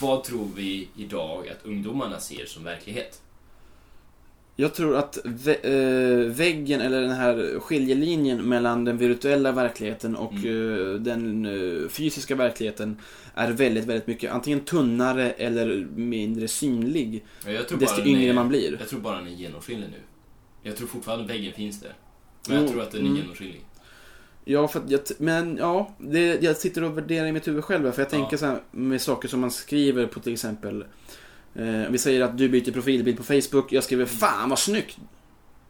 [SPEAKER 1] vad tror vi idag att ungdomarna ser som verklighet?
[SPEAKER 2] Jag tror att vä- eh, väggen, eller den här skiljelinjen mellan den virtuella verkligheten och
[SPEAKER 1] Mm.
[SPEAKER 2] eh, den eh, fysiska verkligheten är väldigt, väldigt mycket antingen tunnare eller mindre synlig
[SPEAKER 1] Ja, Jag tror, bara
[SPEAKER 2] desto
[SPEAKER 1] den
[SPEAKER 2] yngre
[SPEAKER 1] är,
[SPEAKER 2] man blir.
[SPEAKER 1] jag tror bara den är genomskinlig nu. Jag tror fortfarande väggen finns där. Men jag
[SPEAKER 2] Jo,
[SPEAKER 1] tror att den är
[SPEAKER 2] mm.
[SPEAKER 1] genomskinlig.
[SPEAKER 2] Ja, för att jag, t- men ja, det, jag sitter och värderar i mitt huvud själv här, för jag
[SPEAKER 1] Ja.
[SPEAKER 2] tänker så här med saker som man skriver på till exempel eh, vi säger att du byter profilbild på Facebook, jag skriver 'Fan vad snygg!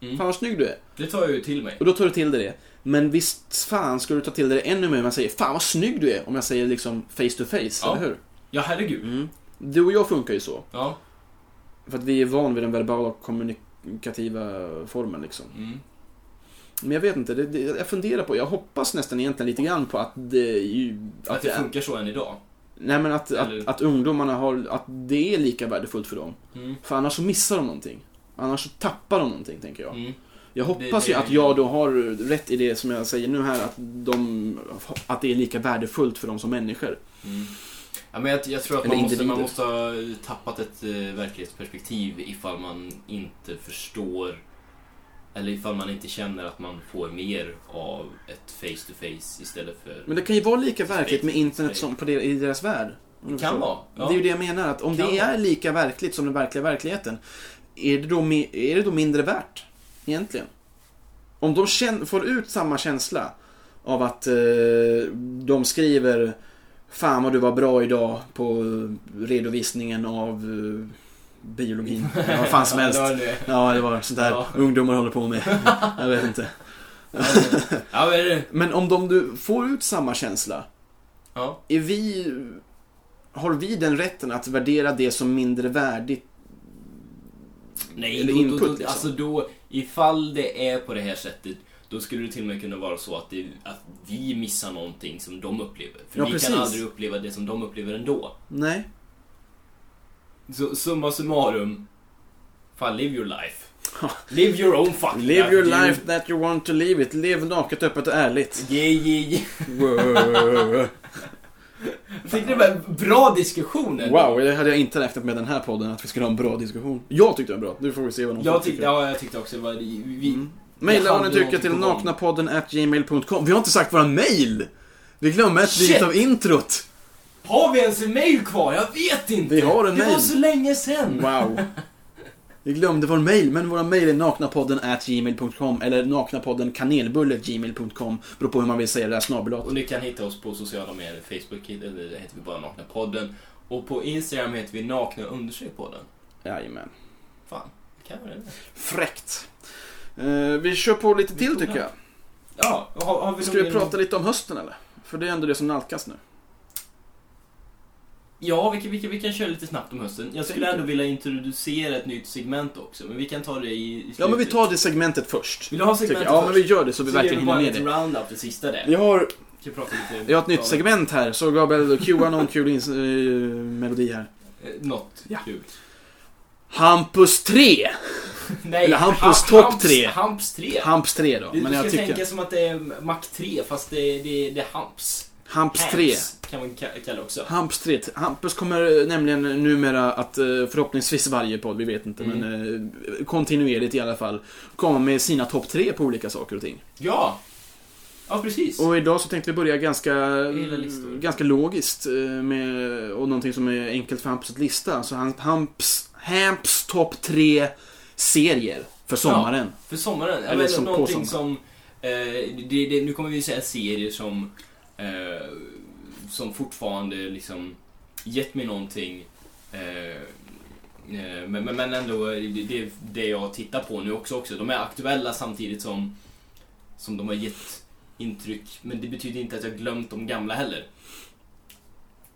[SPEAKER 1] Mm.
[SPEAKER 2] Fan vad snygg du är!
[SPEAKER 1] Det tar jag ju till mig.
[SPEAKER 2] Och då tar du till dig det. Men visst fan ska du ta till dig det ännu mer om jag säger Fan vad snygg du är! Om jag säger liksom face to face,
[SPEAKER 1] Ja.
[SPEAKER 2] eller hur?
[SPEAKER 1] Ja, herregud.
[SPEAKER 2] Mm. Du och jag funkar ju så.
[SPEAKER 1] Ja.
[SPEAKER 2] För att vi är van vid den verbala och kommunikativa formen liksom.
[SPEAKER 1] Mm.
[SPEAKER 2] Men jag vet inte, det, det, jag funderar på, jag hoppas nästan egentligen lite grann på att det ju...
[SPEAKER 1] Att det
[SPEAKER 2] är-
[SPEAKER 1] funkar så än idag.
[SPEAKER 2] Nej men att, att,
[SPEAKER 1] Eller-
[SPEAKER 2] att ungdomarna har, att det är lika värdefullt för dem.
[SPEAKER 1] Mm.
[SPEAKER 2] För annars så missar de någonting. Annars så tappar de någonting, tänker jag.
[SPEAKER 1] Mm.
[SPEAKER 2] Jag hoppas
[SPEAKER 1] Det- det-
[SPEAKER 2] ju att jag då har rätt i det som jag säger nu här, att, de, att det är lika värdefullt för dem som människor.
[SPEAKER 1] Mm. Ja, men jag, jag tror att
[SPEAKER 2] Eller
[SPEAKER 1] man måste,
[SPEAKER 2] individer.
[SPEAKER 1] man måste ha tappat ett eh, verklighetsperspektiv ifall man inte förstår Eller ifall man inte känner att man får mer av ett face to face istället för...
[SPEAKER 2] Men det kan ju vara lika verkligt med internet som på der, i deras värld. om du
[SPEAKER 1] det kan
[SPEAKER 2] förstår.
[SPEAKER 1] vara. Ja.
[SPEAKER 2] Det är ju det jag menar, att om
[SPEAKER 1] Kan
[SPEAKER 2] det
[SPEAKER 1] vara.
[SPEAKER 2] är lika verkligt som den verkliga verkligheten, är det då, mi- är det då mindre värt? Egentligen. Om de kän- får ut samma känsla av att eh, de skriver Fan vad du var bra idag på eh, redovisningen av eh, biologin. Ja, vad fan som helst.
[SPEAKER 1] Ja, det var det.
[SPEAKER 2] Ja, det var sånt där
[SPEAKER 1] Ja.
[SPEAKER 2] ungdomar håller på med. Jag vet inte.
[SPEAKER 1] Ja, men,
[SPEAKER 2] Men om de du får ut samma känsla,
[SPEAKER 1] ja.
[SPEAKER 2] är vi, har vi den rätten att värdera det som mindre värdigt?
[SPEAKER 1] Nej,
[SPEAKER 2] Eller
[SPEAKER 1] då,
[SPEAKER 2] input,
[SPEAKER 1] då, då,
[SPEAKER 2] liksom.
[SPEAKER 1] alltså då, ifall det är på det här sättet, då skulle det till och med kunna vara så att, det, att vi missar någonting som de upplever. För
[SPEAKER 2] Ja,
[SPEAKER 1] vi
[SPEAKER 2] precis.
[SPEAKER 1] kan aldrig uppleva det som de upplever ändå.
[SPEAKER 2] Nej.
[SPEAKER 1] Så summa summarum, fan live your life.
[SPEAKER 2] Ja.
[SPEAKER 1] Live your own fucking
[SPEAKER 2] Live your
[SPEAKER 1] du-
[SPEAKER 2] life that you want to live it. Lev naket, öppet och ärligt.
[SPEAKER 1] Yeah, yeah, yeah.
[SPEAKER 2] Wow,
[SPEAKER 1] Jag tyckte det var en bra diskussion ändå.
[SPEAKER 2] Wow, det hade jag inte räknat med den här podden, att vi skulle ha en bra diskussion. Jag tyckte den var bra. Nu får vi se vad någon
[SPEAKER 1] Jag
[SPEAKER 2] annan
[SPEAKER 1] tyckte, ja, jag tyckte också det var... Vi,
[SPEAKER 2] Mm. Mejla vad ni
[SPEAKER 1] hade
[SPEAKER 2] tycker
[SPEAKER 1] någonting
[SPEAKER 2] till
[SPEAKER 1] på gång.
[SPEAKER 2] naknapodden at gmail.com. Vi har inte sagt våran mail! Vi glömde ett
[SPEAKER 1] Shit.
[SPEAKER 2] litet av introt.
[SPEAKER 1] Har vi ens en mail kvar? Jag vet inte!
[SPEAKER 2] Vi har en
[SPEAKER 1] det var
[SPEAKER 2] mail.
[SPEAKER 1] så länge sen!
[SPEAKER 2] Wow. Vi glömde vår mail, men våra mail är naknapodden at gmail.com eller naknapodden kanelbulle gmail.com. Beror på hur man vill säga det där snabbelat.
[SPEAKER 1] Och ni kan hitta oss på sociala medier, Facebook eller heter vi bara Nakna podden. Och på Instagram heter vi Nakna understreck podden.
[SPEAKER 2] Jajamän.
[SPEAKER 1] Fan, kan vi det?
[SPEAKER 2] Fräckt. Eh, vi kör på lite till tycker jag.
[SPEAKER 1] Ja, har, har vi
[SPEAKER 2] Ska vi
[SPEAKER 1] någon-
[SPEAKER 2] prata lite om hösten eller? För det är ändå det som nalkas nu.
[SPEAKER 1] Ja, vi kan, vi, kan, vi kan köra lite snabbt om hösten. Jag skulle ändå vilja introducera ett nytt segment också, men vi kan ta det i, i slutet.
[SPEAKER 2] Ja, men vi tar det segmentet först.
[SPEAKER 1] Vill du ha
[SPEAKER 2] tycker jag.
[SPEAKER 1] segmentet
[SPEAKER 2] Ja, men vi
[SPEAKER 1] först?
[SPEAKER 2] gör det så vi verkligen
[SPEAKER 1] bara
[SPEAKER 2] hinner med
[SPEAKER 1] en
[SPEAKER 2] det.
[SPEAKER 1] roundup, det sista där.
[SPEAKER 2] Vi har,
[SPEAKER 1] Vi kan prata lite...
[SPEAKER 2] vi har ett
[SPEAKER 1] Ja,
[SPEAKER 2] nytt segment här, så Gabriel, cuea någon kul ins- eh, melodi här.
[SPEAKER 1] eh, Något
[SPEAKER 2] Ja.
[SPEAKER 1] kul.
[SPEAKER 2] Hampus 3!
[SPEAKER 1] Nej,
[SPEAKER 2] Eller Hampus
[SPEAKER 1] Ha-
[SPEAKER 2] topp
[SPEAKER 1] Hamps-
[SPEAKER 2] tre.
[SPEAKER 1] Hamps 3.
[SPEAKER 2] Hamps 3 då,
[SPEAKER 1] Du
[SPEAKER 2] men
[SPEAKER 1] ska
[SPEAKER 2] jag tycker...
[SPEAKER 1] tänka som att det är Mac 3 fast det, det, det är Hamps.
[SPEAKER 2] Hamps 3.
[SPEAKER 1] Hamps kan man ka- kalla det också.
[SPEAKER 2] Hampus 3. Hampus kommer eh, nämligen numera att eh, förhoppningsvis varje podd, vi vet inte,
[SPEAKER 1] Mm.
[SPEAKER 2] men eh, kontinuerligt i alla fall, komma med sina topp 3 på olika saker och ting.
[SPEAKER 1] Ja! Ja, precis.
[SPEAKER 2] Och idag så tänkte vi börja ganska,
[SPEAKER 1] gillar listor.
[SPEAKER 2] ganska logiskt eh, med, och någonting som är enkelt för Hampus att lista. Så han, Hamps, Hamps topp 3 serier för sommaren.
[SPEAKER 1] För sommaren,
[SPEAKER 2] Eller
[SPEAKER 1] eller
[SPEAKER 2] som på
[SPEAKER 1] någonting som...
[SPEAKER 2] sommaren.
[SPEAKER 1] eh, det, det, nu kommer vi säga serier som... Eh, som fortfarande liksom gett mig någonting. Eh, eh, men, men, men ändå, det, det, det jag tittar på nu också, också. De är aktuella samtidigt som, som de har gett intryck. Men det betyder inte att jag glömt de gamla heller.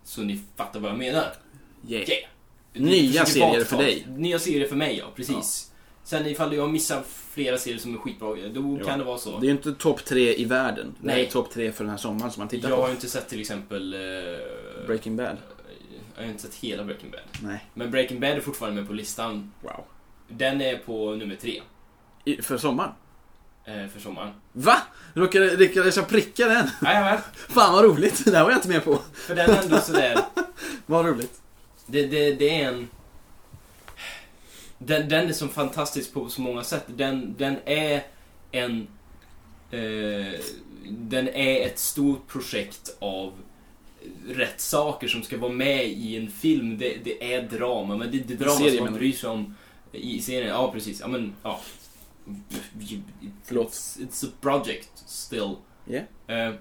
[SPEAKER 1] Så ni fattar vad jag menar.
[SPEAKER 2] Yeah.
[SPEAKER 1] Yeah.
[SPEAKER 2] Nya
[SPEAKER 1] Försöker
[SPEAKER 2] serier
[SPEAKER 1] vara
[SPEAKER 2] för
[SPEAKER 1] totalt.
[SPEAKER 2] dig.
[SPEAKER 1] Nya serier för mig, ja. Precis. Sen ifall jag missar flera serier som är skitbra, då
[SPEAKER 2] Ja.
[SPEAKER 1] kan det vara så.
[SPEAKER 2] Det är ju inte topp 3 i världen. Nej. Det
[SPEAKER 1] Nej.
[SPEAKER 2] är topp 3 för den här sommaren som man tittar
[SPEAKER 1] jag har
[SPEAKER 2] på.
[SPEAKER 1] ju inte sett till exempel... eh,
[SPEAKER 2] Breaking Bad.
[SPEAKER 1] Jag har inte sett hela Breaking Bad.
[SPEAKER 2] Nej.
[SPEAKER 1] Men Breaking Bad är fortfarande med på listan.
[SPEAKER 2] Wow.
[SPEAKER 1] Den är på nummer tre
[SPEAKER 2] I, för sommaren.
[SPEAKER 1] eh, för sommaren.
[SPEAKER 2] Va? Råkade lyckades jag pricka den?
[SPEAKER 1] Jajamän!
[SPEAKER 2] Fan vad roligt, det här var jag inte med på.
[SPEAKER 1] För den är ändå sådär...
[SPEAKER 2] Vad roligt.
[SPEAKER 1] Det, det, det är en... Den, den är så fantastisk på så många sätt. Den, den är en... Eh, den är ett stort projekt av rätt saker som ska vara med i en film. Det, det är drama, men det, det är drama
[SPEAKER 2] serien,
[SPEAKER 1] som man
[SPEAKER 2] menar
[SPEAKER 1] bryr sig om i serien. Ja, precis. Ja, men, ja.
[SPEAKER 2] Förlåt.
[SPEAKER 1] It's, it's a project still.
[SPEAKER 2] Yeah.
[SPEAKER 1] Eh,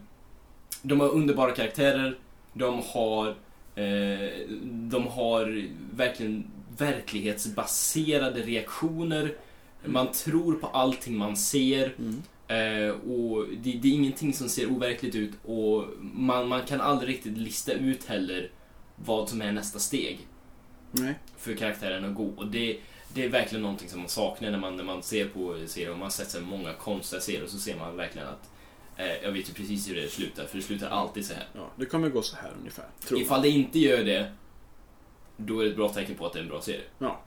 [SPEAKER 1] de har underbara karaktärer. De har, eh, de har verkligen verklighetsbaserade reaktioner. Man tror på allting man ser.
[SPEAKER 2] Mm.
[SPEAKER 1] Eh, och det, det är ingenting som ser overkligt ut och man, man kan aldrig riktigt lista ut heller vad som är nästa steg
[SPEAKER 2] Nej.
[SPEAKER 1] för karaktären att gå. Och det, det är verkligen någonting som man saknar när man, när man ser på serier. Och man har sett så här många konstiga serier och så ser man verkligen att eh, jag vet ju precis hur det slutar, för det slutar alltid så här.
[SPEAKER 2] Ja, det kommer gå så här ungefär. Tror jag.
[SPEAKER 1] Ifall det inte gör det, då är det ett bra tecken på att det är en bra serie.
[SPEAKER 2] Ja.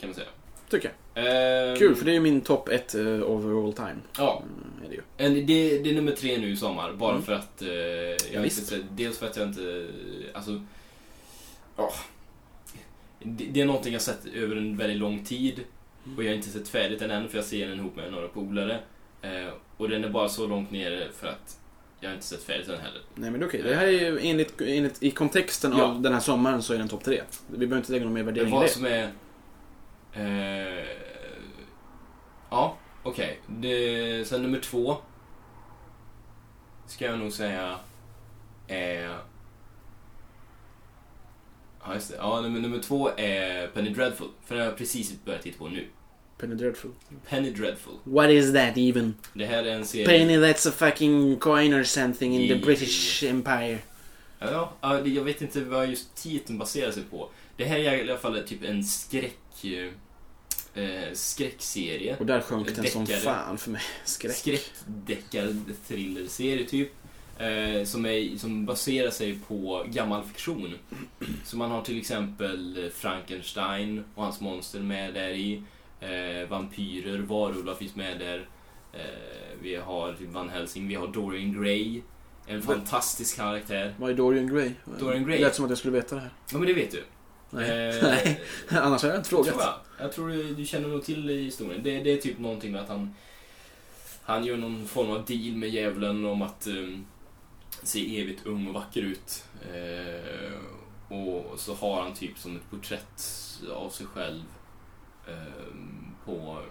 [SPEAKER 1] Kan man säga.
[SPEAKER 2] Tycker
[SPEAKER 1] Ehm,
[SPEAKER 2] jag. Kul, för det är ju min topp 1 uh, over all time.
[SPEAKER 1] Ja,
[SPEAKER 2] Mm, är det ju.
[SPEAKER 1] en- det, det är nummer tre nu i sommar. Bara
[SPEAKER 2] Mm.
[SPEAKER 1] för att... Eh, jag har inte,
[SPEAKER 2] visst.
[SPEAKER 1] sett- dels för att jag inte... Alltså... Ja. Det, det är någonting jag sett över en väldigt lång tid. Och jag har inte sett färdigt den än för jag ser den ihop med några polare. Eh, och den är bara så långt nere för att jag har inte sett färdigt den heller.
[SPEAKER 2] Nej men det är okej. Det här är ju enligt, enligt i kontexten
[SPEAKER 1] Ja.
[SPEAKER 2] av den här sommaren så är den topp tre. Vi behöver inte lägga någon mer
[SPEAKER 1] Det
[SPEAKER 2] värdering i
[SPEAKER 1] vad
[SPEAKER 2] det.
[SPEAKER 1] som är... Eh, ja, okej. Det- Sen nummer två. Ska jag nog säga... Eh, ja, just det. Ja, nummer, nummer två är Penny Dreadful. För den har jag precis börjat titta på nu.
[SPEAKER 2] Penny Dreadful.
[SPEAKER 1] Penny Dreadful.
[SPEAKER 2] What is that even?
[SPEAKER 1] Det här är en serie...
[SPEAKER 2] Penny that's a fucking coin or something in the
[SPEAKER 1] Yeah.
[SPEAKER 2] British Empire.
[SPEAKER 1] Ja, ja, det- jag vet inte vad just titeln baserar sig på. Det här är i alla fall typ en skräck... Eh, skräckserie.
[SPEAKER 2] Och där sjönk den som
[SPEAKER 1] Deckare.
[SPEAKER 2] fan för mig. Skräck.
[SPEAKER 1] Skräckdeckar-thrillerserie typ. Eh, som, är, som baserar sig på gammal fiktion. Så man har till exempel Frankenstein och hans monster med där i. Eh, vampyrer, varulvar finns med där. Eh, vi har typ Van Helsing, vi har Dorian Gray. En
[SPEAKER 2] Vad-
[SPEAKER 1] fantastisk karaktär.
[SPEAKER 2] Vad är Dorian Gray?
[SPEAKER 1] Dorian Gray?
[SPEAKER 2] Det lät som att jag skulle veta det här.
[SPEAKER 1] Ja men det vet du.
[SPEAKER 2] Nej.
[SPEAKER 1] Eh,
[SPEAKER 2] Nej. Annars har jag inte frågat.
[SPEAKER 1] Tror jag. jag tror du, du känner nog till historien. Det, det är typ någonting med att han han gör någon form av deal med djävulen om att um, se evigt ung och vacker ut. Eh, och så har han typ som ett porträtt av sig själv ehm, på,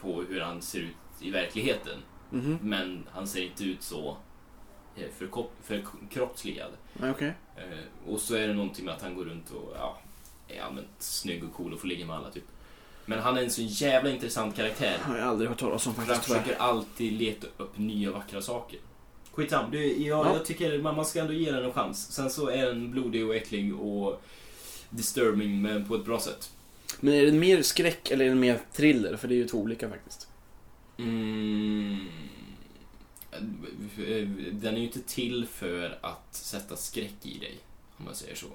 [SPEAKER 1] på hur han ser ut i verkligheten.
[SPEAKER 2] Mhm.
[SPEAKER 1] Men han ser inte ut så eh, förkop- förkroppsligad.
[SPEAKER 2] Nej, Okej.
[SPEAKER 1] Eh, och så är det någonting med att han går runt och ja, är allmänt snygg och cool och får ligga med alla typ. Men han är en så jävla intressant karaktär.
[SPEAKER 2] Har jag aldrig hört talas om
[SPEAKER 1] För han
[SPEAKER 2] faktiskt tyvärr.
[SPEAKER 1] försöker alltid leta upp nya vackra saker. Skitsam, du, jag,
[SPEAKER 2] Ja.
[SPEAKER 1] jag tycker man, man ska ändå ge den en chans. Sen så är den blodig och äcklig och disturbing men på ett bra sätt.
[SPEAKER 2] Men är den mer skräck eller är den mer thriller? För det är ju två olika faktiskt.
[SPEAKER 1] Mm. Eh, Den är ju inte till för att sätta skräck i dig, om man säger så.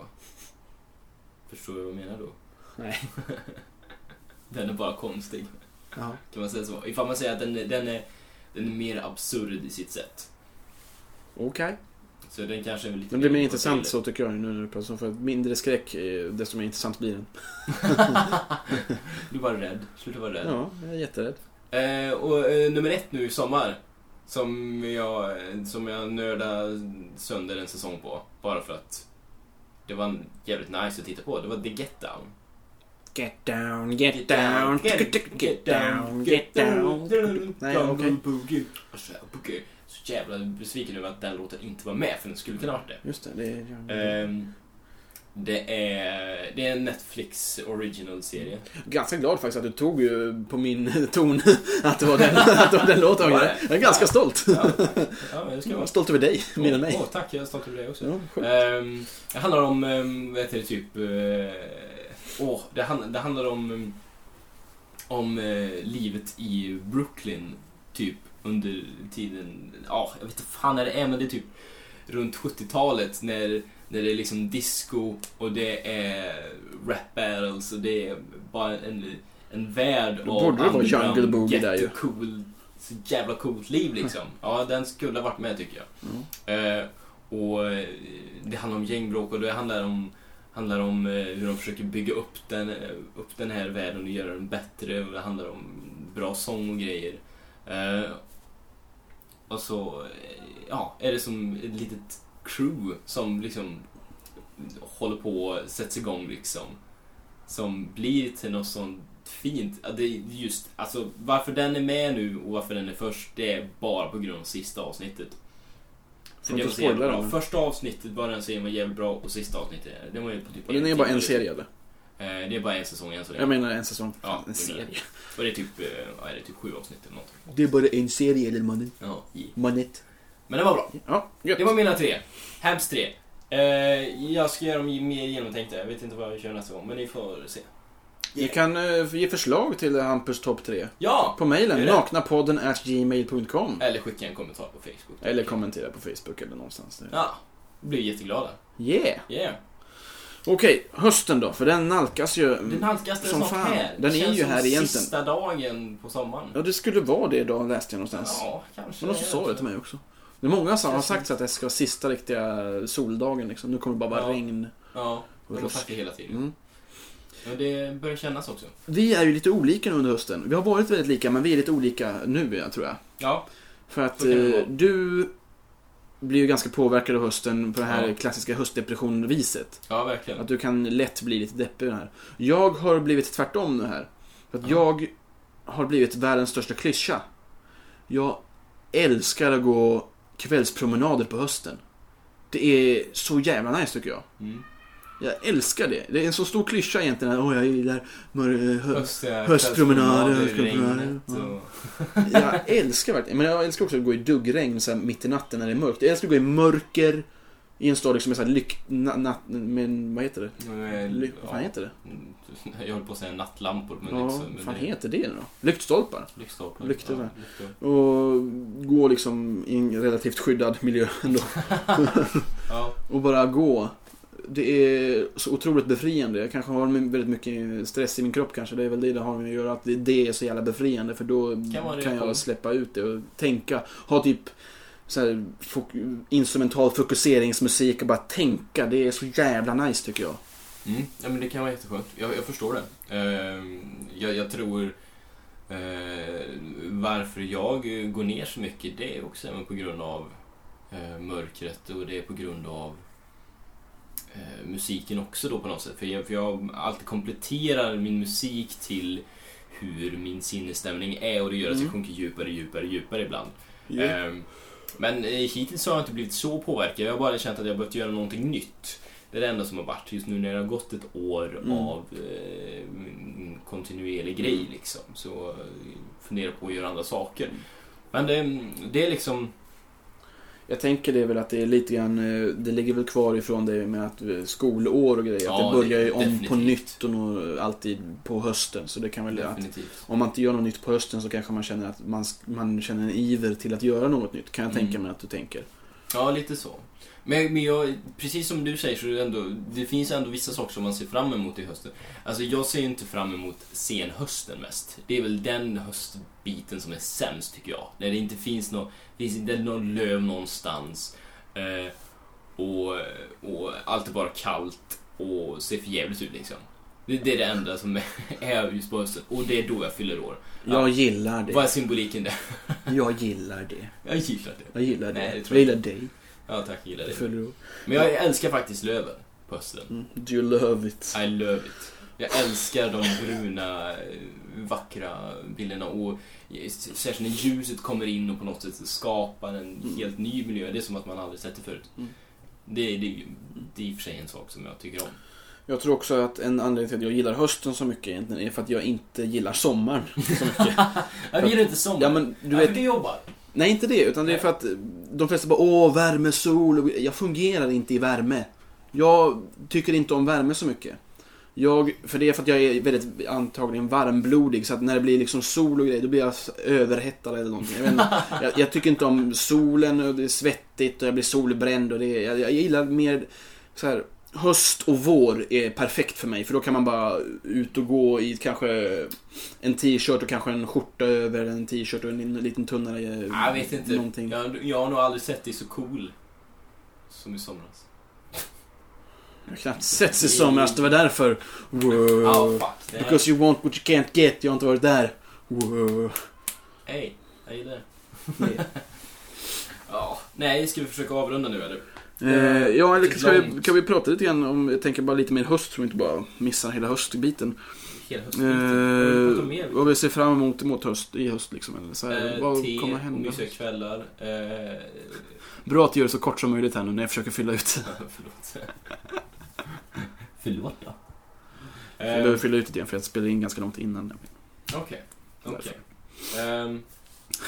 [SPEAKER 1] Förstår du vad jag menar då?
[SPEAKER 2] Nej.
[SPEAKER 1] den är bara konstig,
[SPEAKER 2] Ja.
[SPEAKER 1] kan man säga så? Ifall man säger att den, är- den, är, den är mer absurd i sitt sätt.
[SPEAKER 2] Okej.
[SPEAKER 1] Så den kanske är lite
[SPEAKER 2] Den blir mer
[SPEAKER 1] åt
[SPEAKER 2] intressant
[SPEAKER 1] thriller.
[SPEAKER 2] så tycker jag nu när du pratar om. För att mindre skräck, eh, desto mer intressant blir den.
[SPEAKER 1] du är bara rädd. Sluta vara rädd.
[SPEAKER 2] Ja, jag är jätterädd.
[SPEAKER 1] Eh, och eh, nummer ett nu i sommar. Som jag, som jag nördade sönder en säsong på. Bara för att det var jävligt nice att titta på. Det var The Get Down.
[SPEAKER 2] Get down, get down, get down, get down. Nej, okej.
[SPEAKER 1] Okay. Alltså, Så jävla besviken över att den låten inte var med, för den skulle kunna ha varit det.
[SPEAKER 2] Just det, det är...
[SPEAKER 1] Ehm, det, är, det är en Netflix original-serie.
[SPEAKER 2] Ganska glad faktiskt att du tog ju på min ton att det var den, att det var den låten. Jag är ganska stolt.
[SPEAKER 1] Ja, ja, men det ska
[SPEAKER 2] Jag är
[SPEAKER 1] vara.
[SPEAKER 2] stolt över dig, mer än mig.
[SPEAKER 1] Åh, tack, jag är stolt över dig också.
[SPEAKER 2] Ja, skönt.
[SPEAKER 1] Ehm, det handlar om, um, vad heter det, typ... eh, Åh, det, hand, det handlar om... ehm, om eh, livet i Brooklyn, typ, under tiden... Ja, jag vet inte fan när det är, men det är typ runt 70-talet när, när det är liksom disco och det är rap battles och det är bara en, en värld
[SPEAKER 2] Då borde det vara
[SPEAKER 1] underground
[SPEAKER 2] Jungle Boogie där ju.
[SPEAKER 1] ghetto Cool, så jävla coolt liv liksom. Ja, den skulle ha varit med tycker jag.
[SPEAKER 2] Ja.
[SPEAKER 1] Eh, och eh, det handlar om gängbråk och det handlar om, handlar om eh, hur de försöker bygga upp den, eh, upp den här världen och göra den bättre. Och det handlar om bra sång och grejer. Eh, och så eh, ja, är det som ett litet crew som liksom håller på och sätts igång liksom. Som blir till något sånt fint. Ja, Det är just, alltså, varför den är med nu och varför den är först, det är bara på grund av sista avsnittet.
[SPEAKER 2] Får inte
[SPEAKER 1] var så
[SPEAKER 2] spoila
[SPEAKER 1] jävla bra.
[SPEAKER 2] den.
[SPEAKER 1] Första avsnittet bara den serien var jävligt bra och sista avsnittet, det var ju på typ
[SPEAKER 2] Och den är
[SPEAKER 1] timme.
[SPEAKER 2] bara en serie eller?
[SPEAKER 1] Eh, Det är bara en säsong än så länge.
[SPEAKER 2] Jag menar en säsong.
[SPEAKER 1] Ja,
[SPEAKER 2] Fan,
[SPEAKER 1] det är
[SPEAKER 2] en serie.
[SPEAKER 1] Och det är typ, eh, vad är det, typ sju avsnitt eller någonting.
[SPEAKER 2] Det är bara en serie eller mannen?
[SPEAKER 1] Ja, i.
[SPEAKER 2] Manet.
[SPEAKER 1] Men det var bra.
[SPEAKER 2] Ja, gött.
[SPEAKER 1] Det var mina tre. Habs tre. Eh, jag ska göra dem mer genomtänkta. Jag vet inte vad jag kör nästa gång, men ni får se.
[SPEAKER 2] Ni kan eh, ge förslag till Hampus topp 3
[SPEAKER 1] Ja!
[SPEAKER 2] på
[SPEAKER 1] Gör
[SPEAKER 2] mejlen
[SPEAKER 1] det.
[SPEAKER 2] naknapodden at gmail.com
[SPEAKER 1] Eller skicka en kommentar på Facebook.
[SPEAKER 2] eller kommentera på Facebook eller någonstans. där.
[SPEAKER 1] Ja, blir jätteglada.
[SPEAKER 2] Yeah!
[SPEAKER 1] Yeah.
[SPEAKER 2] Okej, hösten då, för den nalkas ju.
[SPEAKER 1] Den halkaste är
[SPEAKER 2] Mm. Som
[SPEAKER 1] snart
[SPEAKER 2] fan.
[SPEAKER 1] här.
[SPEAKER 2] Den är
[SPEAKER 1] Känns
[SPEAKER 2] ju
[SPEAKER 1] som
[SPEAKER 2] här egentligen.
[SPEAKER 1] sista dagen på sommaren.
[SPEAKER 2] Ja, det skulle vara det idag läste jag någonstans.
[SPEAKER 1] Ja, kanske.
[SPEAKER 2] Men någon som sa det till mig också. Det är många som har sagt så att det ska vara sista riktiga soldagen liksom. Nu kommer det bara vara
[SPEAKER 1] Ja.
[SPEAKER 2] regn.
[SPEAKER 1] Ja, de har
[SPEAKER 2] Rusk.
[SPEAKER 1] sagt det hela tiden.
[SPEAKER 2] Mm.
[SPEAKER 1] Ja, det börjar kännas också.
[SPEAKER 2] Vi är ju lite olika nu under hösten. Vi har varit väldigt lika, men vi är lite olika nu, ja, tror jag.
[SPEAKER 1] Ja,
[SPEAKER 2] För att
[SPEAKER 1] Så kan det
[SPEAKER 2] eh,
[SPEAKER 1] vara.
[SPEAKER 2] du blir ju ganska påverkad av hösten på det här
[SPEAKER 1] Ja.
[SPEAKER 2] klassiska höstdepression-viset.
[SPEAKER 1] ja verkligen.
[SPEAKER 2] Att du kan lätt bli lite deppig i det här. Jag har blivit tvärtom nu här. För
[SPEAKER 1] Ja.
[SPEAKER 2] att jag har blivit världens största klyscha. Jag älskar att gå kvällspromenader på hösten. Det är så jävla nice tycker jag.
[SPEAKER 1] Mm.
[SPEAKER 2] Jag älskar det. Det är en så stor klyscha egentligen. Åh, jag gillar mör- hö-
[SPEAKER 1] Höst, eh,
[SPEAKER 2] höstpromenader,
[SPEAKER 1] höstpromenader,
[SPEAKER 2] höstpromenader,
[SPEAKER 1] regnet och-
[SPEAKER 2] Jag älskar verkligen, men jag älskar också att gå i duggregn så här mitt i natten när det är mörkt. Jag älskar att gå i mörker i en stad som är så här lyck... Na, na, men vad heter det?
[SPEAKER 1] eh,
[SPEAKER 2] Ly, vad fan
[SPEAKER 1] ja.
[SPEAKER 2] heter det?
[SPEAKER 1] Mm, Jag höll på att säga nattlampor, men
[SPEAKER 2] Ja,
[SPEAKER 1] liksom...
[SPEAKER 2] vad fan heter det nu då? Lyktstolpar.
[SPEAKER 1] Lyktstolpar.
[SPEAKER 2] Lyktor, va?
[SPEAKER 1] lyktor.
[SPEAKER 2] Och gå liksom i en relativt skyddad miljö ändå.
[SPEAKER 1] ja.
[SPEAKER 2] Och bara gå. Det är så otroligt befriande. Jag kanske har väldigt mycket stress i min kropp kanske. Det är väl det det har med att göra. Att det- det är så jävla befriande. För då
[SPEAKER 1] Kan vara
[SPEAKER 2] kan,
[SPEAKER 1] det.
[SPEAKER 2] jag släppa ut det och tänka. Ha typ så här, fok- instrumental fokuseringsmusik och bara tänka. Det är så jävla nice tycker jag.
[SPEAKER 1] Mm. ja, men det kan vara jätteskönt. Jag, jag förstår det. Ehm, jag, jag tror... eh, varför jag eh, går ner så mycket, det är också även på grund av eh, mörkret och det är på grund av eh, musiken också då på något sätt. För jag, för jag alltid kompletterar min musik till hur min sinnesstämning är och det gör att jag
[SPEAKER 2] Mm.
[SPEAKER 1] sjunker djupare, djupare, djupare ibland. Ehm, Men eh, hittills har jag inte blivit så påverkad. Jag har bara känt att jag behövt göra någonting nytt. Det är det enda som har varit just nu när det har gått ett år
[SPEAKER 2] Mm.
[SPEAKER 1] av eh, en kontinuerlig grej liksom. Så eh, funderar på att göra andra saker. Men det, det är liksom...
[SPEAKER 2] Jag tänker det väl att det är lite grann, eh, det ligger väl kvar ifrån det med att eh, skolår och grejer.
[SPEAKER 1] Ja,
[SPEAKER 2] att det börjar ju
[SPEAKER 1] det-
[SPEAKER 2] om på
[SPEAKER 1] definitivt.
[SPEAKER 2] nytt och nog alltid på hösten. Så det kan väl att
[SPEAKER 1] Definitivt.
[SPEAKER 2] Om man inte gör något nytt på hösten så kanske man känner att man, man känner en iver till att göra något nytt. Kan jag
[SPEAKER 1] Mm.
[SPEAKER 2] tänka mig att du tänker.
[SPEAKER 1] Ja, lite så. Men, men jag, precis som du säger så är det, ändå, det finns ändå vissa saker som man ser fram emot i hösten. Alltså jag ser ju inte fram emot senhösten mest. Det är väl den höstbiten som är sämst tycker jag. När det inte finns någon, finns inte någon löv någonstans. Eh, och, och allt är bara kallt och ser för jävligt ut liksom. Det, det är det enda som är, är just på hösten. Och det är då jag fyller år.
[SPEAKER 2] Jag gillar det.
[SPEAKER 1] Vad är symboliken där?
[SPEAKER 2] Jag gillar det.
[SPEAKER 1] Jag gillar det.
[SPEAKER 2] Jag gillar det.
[SPEAKER 1] Nej, det
[SPEAKER 2] jag
[SPEAKER 1] tror jag
[SPEAKER 2] gillar dig.
[SPEAKER 1] Ja tack, jag gillar
[SPEAKER 2] Jag
[SPEAKER 1] det.
[SPEAKER 2] följer upp.
[SPEAKER 1] Men jag älskar faktiskt löven på hösten.
[SPEAKER 2] Mm. Do you love it?
[SPEAKER 1] I love it. Jag älskar de bruna, eh, vackra bilderna och särskilt när ljuset kommer in och på något sätt skapar en
[SPEAKER 2] Mm.
[SPEAKER 1] helt ny miljö. Det är som att man aldrig sett det förut.
[SPEAKER 2] Mm.
[SPEAKER 1] Det, det, är ju- det är i och för sig en sak som jag tycker om.
[SPEAKER 2] Jag tror också att en anledning till att jag gillar hösten så mycket egentligen är för att jag inte gillar sommaren så mycket.
[SPEAKER 1] Jag gillar inte sommar.
[SPEAKER 2] ja, men, du
[SPEAKER 1] ja,
[SPEAKER 2] vet,
[SPEAKER 1] för det jobbar.
[SPEAKER 2] Nej, inte det. Utan det är
[SPEAKER 1] Nej.
[SPEAKER 2] för att de flesta bara åh, värme, sol. och- Jag fungerar inte i värme. Jag tycker inte om värme så mycket. Jag, för det är för att jag är väldigt antagligen varmblodig så att när det blir liksom sol och grejer då blir jag s- överhettad eller någonting. Jag, vet inte. jag, jag tycker inte om solen och det är svettigt och jag blir solbränd och det är, jag, jag gillar mer så här, höst och vår är perfekt för mig för då kan man bara ut och gå i kanske en t-shirt och kanske en skjorta över en t-shirt och en liten tunnare eh,
[SPEAKER 1] Ja, Jag vet inte.
[SPEAKER 2] någonting.
[SPEAKER 1] Jag, jag har nog aldrig sett dig så cool som i somras.
[SPEAKER 2] Jag har knappt sett sig i somras, det var därför. Wow.
[SPEAKER 1] Ah fuck. Det här.
[SPEAKER 2] Uh, Because you want what you can't get, jag har inte varit där. Wow.
[SPEAKER 1] Hej, jag gillar det.
[SPEAKER 2] Nej.
[SPEAKER 1] Ja, nej, ska vi försöka avrunda nu eller?
[SPEAKER 2] Eh, ja, eller ska vi,
[SPEAKER 1] Långt.
[SPEAKER 2] kan vi prata lite grann om, jag tänker bara lite mer höst så vi inte bara missar hela höstbiten.
[SPEAKER 1] Hela hösten. Vad vill du prata om mer?
[SPEAKER 2] Eh, vad Eh, vi ser fram emot emot höst, i höst liksom. Eller så här,
[SPEAKER 1] Eh,
[SPEAKER 2] vad
[SPEAKER 1] te
[SPEAKER 2] kommer
[SPEAKER 1] och
[SPEAKER 2] hända?
[SPEAKER 1] mysiga kvällar. Eh,
[SPEAKER 2] Bra att du gör det så kort som möjligt här nu när jag försöker fylla ut.
[SPEAKER 1] förlåt. förlåt då. Eh.
[SPEAKER 2] Jag behöver fylla ut det igen för jag spelade in ganska långt innan. nämligen.
[SPEAKER 1] Okej. Okej. Ehm,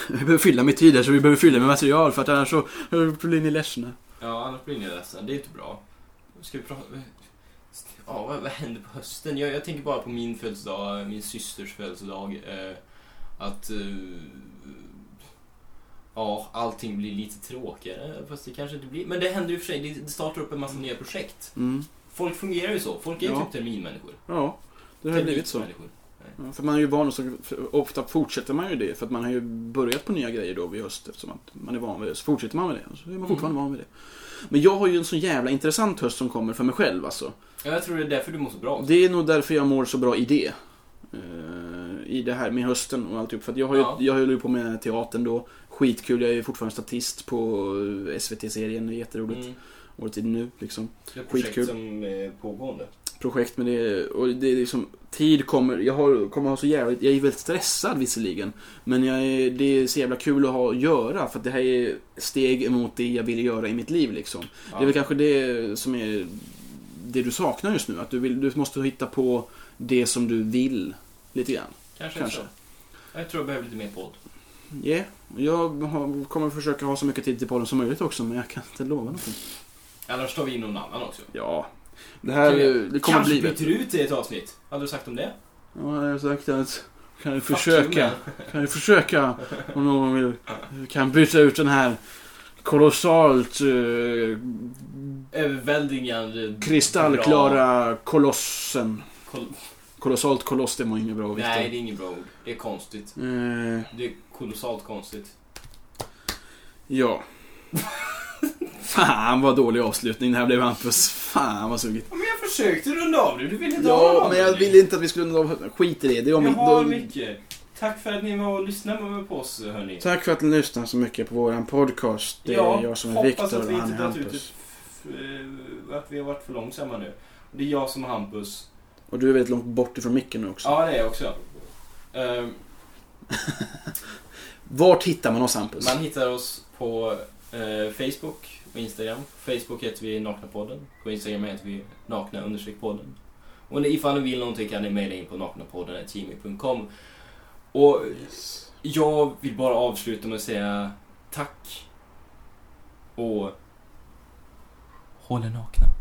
[SPEAKER 2] Vi behöver fylla med tid här, så vi behöver fylla med material för att annars så eh, blir ni ledsna.
[SPEAKER 1] Ja, annars blir ni ledsna. Det är inte bra. Ska vi prata... Ja, vad, vad händer på hösten? Jag, jag tänker bara på min födelsedag, min systers födelsedag. Eh, att... Eh, ja, allting blir lite tråkigare. Fast det kanske inte blir. Men det händer ju för sig. Det- Det startar upp en massa nya projekt.
[SPEAKER 2] Mm.
[SPEAKER 1] Folk fungerar ju så. Folk är ju
[SPEAKER 2] Ja.
[SPEAKER 1] typ terminmänniskor.
[SPEAKER 2] Ja, det har blivit så.
[SPEAKER 1] Terminmänniskor.
[SPEAKER 2] Ja, för man är ju van och så för- ofta fortsätter man ju det för att
[SPEAKER 1] Mm.
[SPEAKER 2] man har ju börjat på nya grejer då vid höst eftersom att man är van vid det. Så fortsätter man med det och så är man fortfarande van vid det. Men jag har ju en så jävla intressant höst som kommer för mig själv alltså.
[SPEAKER 1] Ja, jag tror det är därför du mår så bra.
[SPEAKER 2] Det är nog därför jag mår så bra i det. Eh, I det här med hösten och alltihop. För att jag, har ju,
[SPEAKER 1] Ja.
[SPEAKER 2] jag höll ju på med teatern då. Skitkul, jag är ju fortfarande statist på eh, SVT-serien. Det är jätteroligt.
[SPEAKER 1] Mm.
[SPEAKER 2] Året är nu liksom.
[SPEAKER 1] Det är ett projekt
[SPEAKER 2] Skitkul.
[SPEAKER 1] som är pågående.
[SPEAKER 2] Projekt men det är, och det är liksom, tid kommer, jag har, kommer ha så jävligt, jag är väldigt stressad visserligen. Men jag är, det är så jävla kul att ha att göra för att det här är steg emot det jag vill göra i mitt liv liksom.
[SPEAKER 1] Ja.
[SPEAKER 2] Det är väl kanske det som är det du saknar just nu. Att du, vill, du måste hitta på det som du vill. Lite grann.
[SPEAKER 1] kanske.
[SPEAKER 2] kanske.
[SPEAKER 1] så. Jag tror jag behöver lite mer podd.
[SPEAKER 2] Yeah. Jag har, kommer försöka ha så mycket tid till podden som möjligt också, men jag kan inte lova någonting.
[SPEAKER 1] Annars tar vi in någon annan också.
[SPEAKER 2] Ja. Det här
[SPEAKER 1] Kan vi-
[SPEAKER 2] det kommer
[SPEAKER 1] Kanske
[SPEAKER 2] bli
[SPEAKER 1] byter
[SPEAKER 2] bättre.
[SPEAKER 1] du ut det i ett avsnitt. Hade du sagt om det?
[SPEAKER 2] Ja, jag har sagt att kan du
[SPEAKER 1] Fuck
[SPEAKER 2] försöka,
[SPEAKER 1] you, man.
[SPEAKER 2] kan du försöka om någon vill, kan byta ut den här kolossalt eh,
[SPEAKER 1] Överväldigande... bra
[SPEAKER 2] kristallklara kolossen.
[SPEAKER 1] Kol-
[SPEAKER 2] Kolossalt koloss, det var inget bra Victor.
[SPEAKER 1] Nej, det är inget bra ord. Det är konstigt.
[SPEAKER 2] Eh,
[SPEAKER 1] Det är kolossalt konstigt.
[SPEAKER 2] Ja. Fan vad dålig avslutning det här blev Hampus. Fan vad sugigt.
[SPEAKER 1] Ja, men jag försökte runda av det. Du ville inte ha någon
[SPEAKER 2] Ja, men jag
[SPEAKER 1] avrundning.
[SPEAKER 2] ville inte att vi skulle... nå- Skit i det. det är om...
[SPEAKER 1] Jag har
[SPEAKER 2] då-
[SPEAKER 1] mycket. Tack för att ni var och lyssnade på oss, hörni.
[SPEAKER 2] Tack för att ni lyssnar så mycket på våran podcast. Det är
[SPEAKER 1] Ja,
[SPEAKER 2] jag som är
[SPEAKER 1] hoppas
[SPEAKER 2] Viktor
[SPEAKER 1] att
[SPEAKER 2] och
[SPEAKER 1] vi
[SPEAKER 2] han
[SPEAKER 1] inte
[SPEAKER 2] är
[SPEAKER 1] tagit ut
[SPEAKER 2] Hampus.
[SPEAKER 1] ett f- eh, att vi har varit för långsamma nu. Det är jag som är Hampus.
[SPEAKER 2] Och du är väldigt långt bort ifrån micken nu också.
[SPEAKER 1] Ja, det är jag också. Ehm,
[SPEAKER 2] Vart hittar man oss Hampus?
[SPEAKER 1] Man hittar oss på eh, Facebook och Instagram. På Facebook heter vi Naknapodden. På Instagram heter vi nakna understreck podden. Och ifall ni vill någonting kan ni mejla in på naknapodden.gmail.com. Och
[SPEAKER 2] Yes.
[SPEAKER 1] jag vill bara avsluta med att säga tack och håll er nakna.